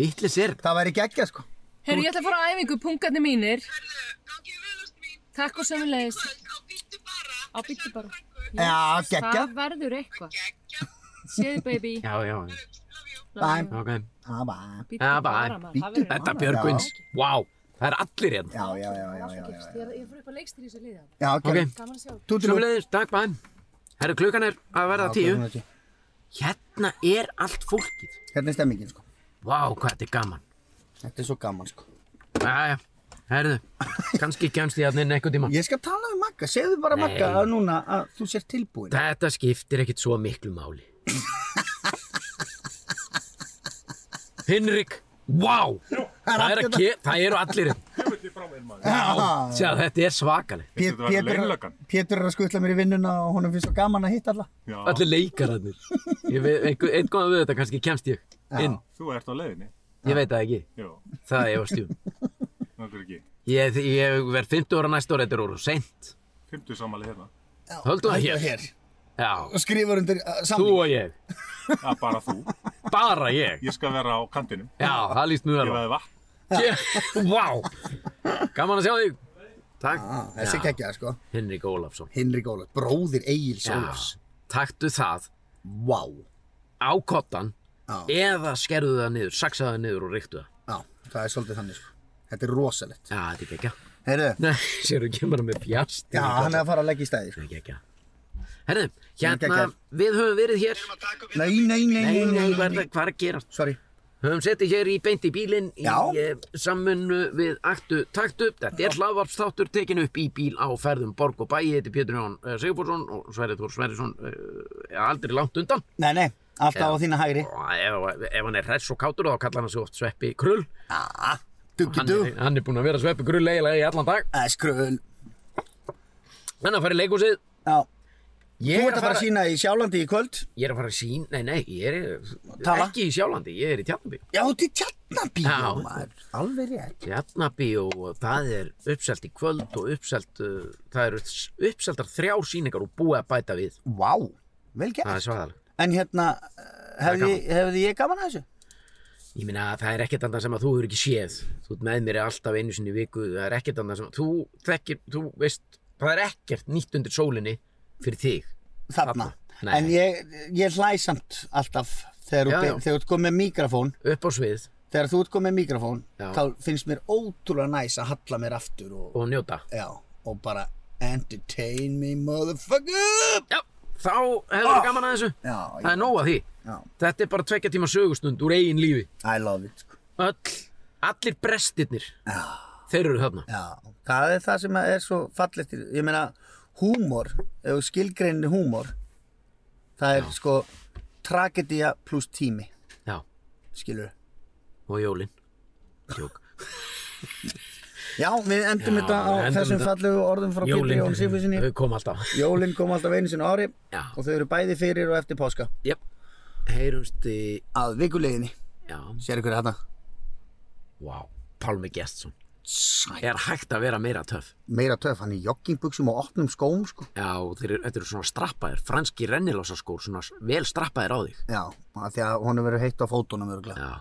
[SPEAKER 1] vittlis er þetta.
[SPEAKER 2] Það væri geggja, sko.
[SPEAKER 6] Herru, ég ætla að fara á æfingu, punkarnir mínir.
[SPEAKER 7] Herðu, gangið velast mín.
[SPEAKER 6] Takk og sömulegis.
[SPEAKER 7] Kvöld á býttu bara.
[SPEAKER 6] Á Bíddu bara.
[SPEAKER 2] Já, geggja.
[SPEAKER 6] Það verður eitthvað.
[SPEAKER 7] Gekja.
[SPEAKER 6] Séðu, baby.
[SPEAKER 1] Já, já, já.
[SPEAKER 7] Love you.
[SPEAKER 2] Bæm.
[SPEAKER 1] ok.
[SPEAKER 2] Já, bæm.
[SPEAKER 6] Bíddu
[SPEAKER 1] Já, bye.
[SPEAKER 6] bara, maður. Það verður
[SPEAKER 1] Þetta
[SPEAKER 6] annað.
[SPEAKER 1] Björgvins, vá, Það er allir hérna.
[SPEAKER 2] Já, já, já, já, já, já, já.
[SPEAKER 6] Ég ég fór upp að leikstýri í þessu liða.
[SPEAKER 2] Já,
[SPEAKER 1] Ok,
[SPEAKER 2] gerðum.
[SPEAKER 6] Gaman að sjá.
[SPEAKER 2] Tútulú.
[SPEAKER 1] sömulegðis, takk bæðin. Herru, klukkan er að verða
[SPEAKER 2] Já,
[SPEAKER 1] tíu.
[SPEAKER 2] klukkan er tíu.
[SPEAKER 1] Hérna er allt fólkið.
[SPEAKER 2] Hérna er stemmingin, sko.
[SPEAKER 1] Vá, hvað þetta er gaman.
[SPEAKER 2] Þetta er svo gaman, sko.
[SPEAKER 1] Jæja, herðu, kannski kemst ég að inn einhvern tíma.
[SPEAKER 2] Ég skal tala við Magga, segðu bara Magga að núna að þú sér tilbúin.
[SPEAKER 1] Þetta skiptir ekkit svo miklu máli. Hinrik, vá! Það, er að ke- það eru allir hérna.
[SPEAKER 2] Ah,
[SPEAKER 1] Sjá, þetta er svakalegt.
[SPEAKER 2] Pé-
[SPEAKER 8] Þetta var
[SPEAKER 2] Pétur-
[SPEAKER 8] launlöggan.
[SPEAKER 2] Pétur er að skutla mér í vinnuna og honum finnst svo gaman að hitta alla.
[SPEAKER 8] Já,
[SPEAKER 1] Allir leikararnir. Ég veit- einhver- Einn góðan við þetta, kannski kemst ég inn.
[SPEAKER 8] þú ert á leiðinni.
[SPEAKER 1] Ég veit það ekki.
[SPEAKER 8] Jó,
[SPEAKER 1] Það er stjúm.
[SPEAKER 8] nokkur ekki.
[SPEAKER 1] Ég, ég verð 50 ára næsta ára, þetta er orðu seint.
[SPEAKER 8] 50 sammæli hérna.
[SPEAKER 1] Höldum það
[SPEAKER 2] Hættu
[SPEAKER 1] hérna hér. Já,
[SPEAKER 2] Og skrifur undir uh,
[SPEAKER 1] þú
[SPEAKER 2] samling.
[SPEAKER 1] og ég.
[SPEAKER 8] Já, bara þú.
[SPEAKER 1] Bara ég.
[SPEAKER 8] Ég skal vera á kantinum.
[SPEAKER 1] Já, það líst mjög
[SPEAKER 8] Ég
[SPEAKER 1] alveg.
[SPEAKER 8] veði vatn.
[SPEAKER 1] Ég- Vá! Gaman að sjá þig. Takk.
[SPEAKER 2] Ah, þessi
[SPEAKER 1] Já.
[SPEAKER 2] kekkjaði, sko.
[SPEAKER 1] Henrik Ólafsson.
[SPEAKER 2] Hinrik Ólafs, bróðir Egil
[SPEAKER 1] Já,
[SPEAKER 2] Ólafs.
[SPEAKER 1] taktu það
[SPEAKER 2] Vá.
[SPEAKER 1] á kottan
[SPEAKER 2] Já,
[SPEAKER 1] eða skerðu það niður, saksaðu það niður og reyktu það.
[SPEAKER 2] já, það er svolítið þannig, sko. Þetta er rosalegt.
[SPEAKER 1] Já, þetta er gekkja.
[SPEAKER 2] Heyrðu,
[SPEAKER 1] Nei, séru ekki bara með fjast.
[SPEAKER 2] já, hann er að fara að leggja í stæði, sko.
[SPEAKER 1] Þetta er gekkja. Herðu, hérna,
[SPEAKER 2] geggjað.
[SPEAKER 1] við höfum verið hér.
[SPEAKER 2] Nei, nei, nei,
[SPEAKER 1] Nei, nei, hvað er, það- hvað er að gerast?
[SPEAKER 2] Sorry.
[SPEAKER 1] Höfum setið hér í beint í bílinn í
[SPEAKER 2] Já.
[SPEAKER 1] eh, samvinnu við Aktu Taktu. Þetta er hlaðvarpstáttur tekin upp í bíl á ferðum Borg og Bæi. Þetta er Pétur Jón eh, Sigurforsson og Sverri Þór Sverrisson eh, aldrei langt undan.
[SPEAKER 2] Nei, nei, alltaf
[SPEAKER 1] Já.
[SPEAKER 2] á þína hægri.
[SPEAKER 1] Og eh, ef, ef hann er hress og kátur þá kallar hann sig oft Sveppi Krull.
[SPEAKER 2] Ah, duggi
[SPEAKER 1] Hann,
[SPEAKER 2] dug.
[SPEAKER 1] er- hann er búinn að vera Sveppi Krull eiginlega í allan dag.
[SPEAKER 2] Það er skröðun.
[SPEAKER 1] Þannig að fara í leikhúsið.
[SPEAKER 2] Já,
[SPEAKER 1] Ég
[SPEAKER 2] þú
[SPEAKER 1] er
[SPEAKER 2] ert að fara að sína í Sjálandi í kvöld.
[SPEAKER 1] Ég er að fara að sín, nei, nei, ég er
[SPEAKER 2] Tala.
[SPEAKER 1] ekki í Sjálandi, ég er í Tjarnabíó.
[SPEAKER 2] Já, þetta er tjarnabíó,
[SPEAKER 1] Já.
[SPEAKER 2] maður. Alveg rétt.
[SPEAKER 1] Tjarnabíó, og það er uppselt í kvöld og uppselt, uh, það eru uppseltar þrjár síningar og búið að bæta við.
[SPEAKER 2] Vá, vel
[SPEAKER 1] Það
[SPEAKER 2] gert.
[SPEAKER 1] er svaðalega.
[SPEAKER 2] En hérna,
[SPEAKER 1] er
[SPEAKER 2] hefði,
[SPEAKER 1] gaman.
[SPEAKER 2] hefði ég gaman að þessu?
[SPEAKER 1] Ég meina, það er ekkert annað sem að þú hefur ekki séð. Þú ert með mér alltaf einu sinni í viku, það er ekkert annað sem að þú þekkir, þú veist, það er ekkert nýtt undir sólinni fyrir þig.
[SPEAKER 2] Þarna.
[SPEAKER 1] Nei.
[SPEAKER 2] En ég, ég hlæ samt alltaf þegar þú
[SPEAKER 1] Já,
[SPEAKER 2] be-
[SPEAKER 1] já.
[SPEAKER 2] þegar þú ert komið með mikrofón.
[SPEAKER 1] Upp á svið
[SPEAKER 2] Þegar þú ert komið með mikrofón,
[SPEAKER 1] Já.
[SPEAKER 2] þá finnst mér ótrúlega næs að halla mér aftur og,
[SPEAKER 1] og njóta.
[SPEAKER 2] já, og bara entertain me motherfucker.
[SPEAKER 1] Já, þá hefur þú gaman að þessu.
[SPEAKER 2] Ah. Já,
[SPEAKER 1] Það er nóg að því.
[SPEAKER 2] Já.
[SPEAKER 1] Þetta er bara tvekja tíma sögustund úr eigin lífi.
[SPEAKER 2] I love it, sko.
[SPEAKER 1] Öll, allir brestirnir,
[SPEAKER 2] Já.
[SPEAKER 1] þeir eru þarna.
[SPEAKER 2] Já, það er það sem er svo fallegt í- ég meina, húmor ef skilgreinni húmor það er sko tragedía pluss tími,
[SPEAKER 1] Já,
[SPEAKER 2] skilur
[SPEAKER 1] og jólin. Tjók.
[SPEAKER 2] Já, við endum
[SPEAKER 1] Já,
[SPEAKER 2] þetta á
[SPEAKER 1] við endum
[SPEAKER 2] þessum
[SPEAKER 1] þetta.
[SPEAKER 2] fallegu orðum frá Pétur Jón Sigfúsinni
[SPEAKER 1] þau kom alltaf.
[SPEAKER 2] Jólin kom alltaf einu sinni á ári
[SPEAKER 1] Já.
[SPEAKER 2] og þau eru bæði fyrir og eftir páska
[SPEAKER 1] Jep, heyrumst í,
[SPEAKER 2] að vikuleginni,
[SPEAKER 1] já,
[SPEAKER 2] sér ykkur hérna. þetta
[SPEAKER 1] vá, Pálmi Gestsson.
[SPEAKER 2] Sæ,
[SPEAKER 1] Er hægt að vera meira töff.
[SPEAKER 2] meira töf, hann í joggingbuxum og opnum skóm sko.
[SPEAKER 1] Já, þeir, eru- þetta eru svona strappaðir, franski rennilásaskór, svona s- vel strappaðir á þig.
[SPEAKER 2] Já, af því að honum verður heitt á fótunum örgulega
[SPEAKER 1] Já,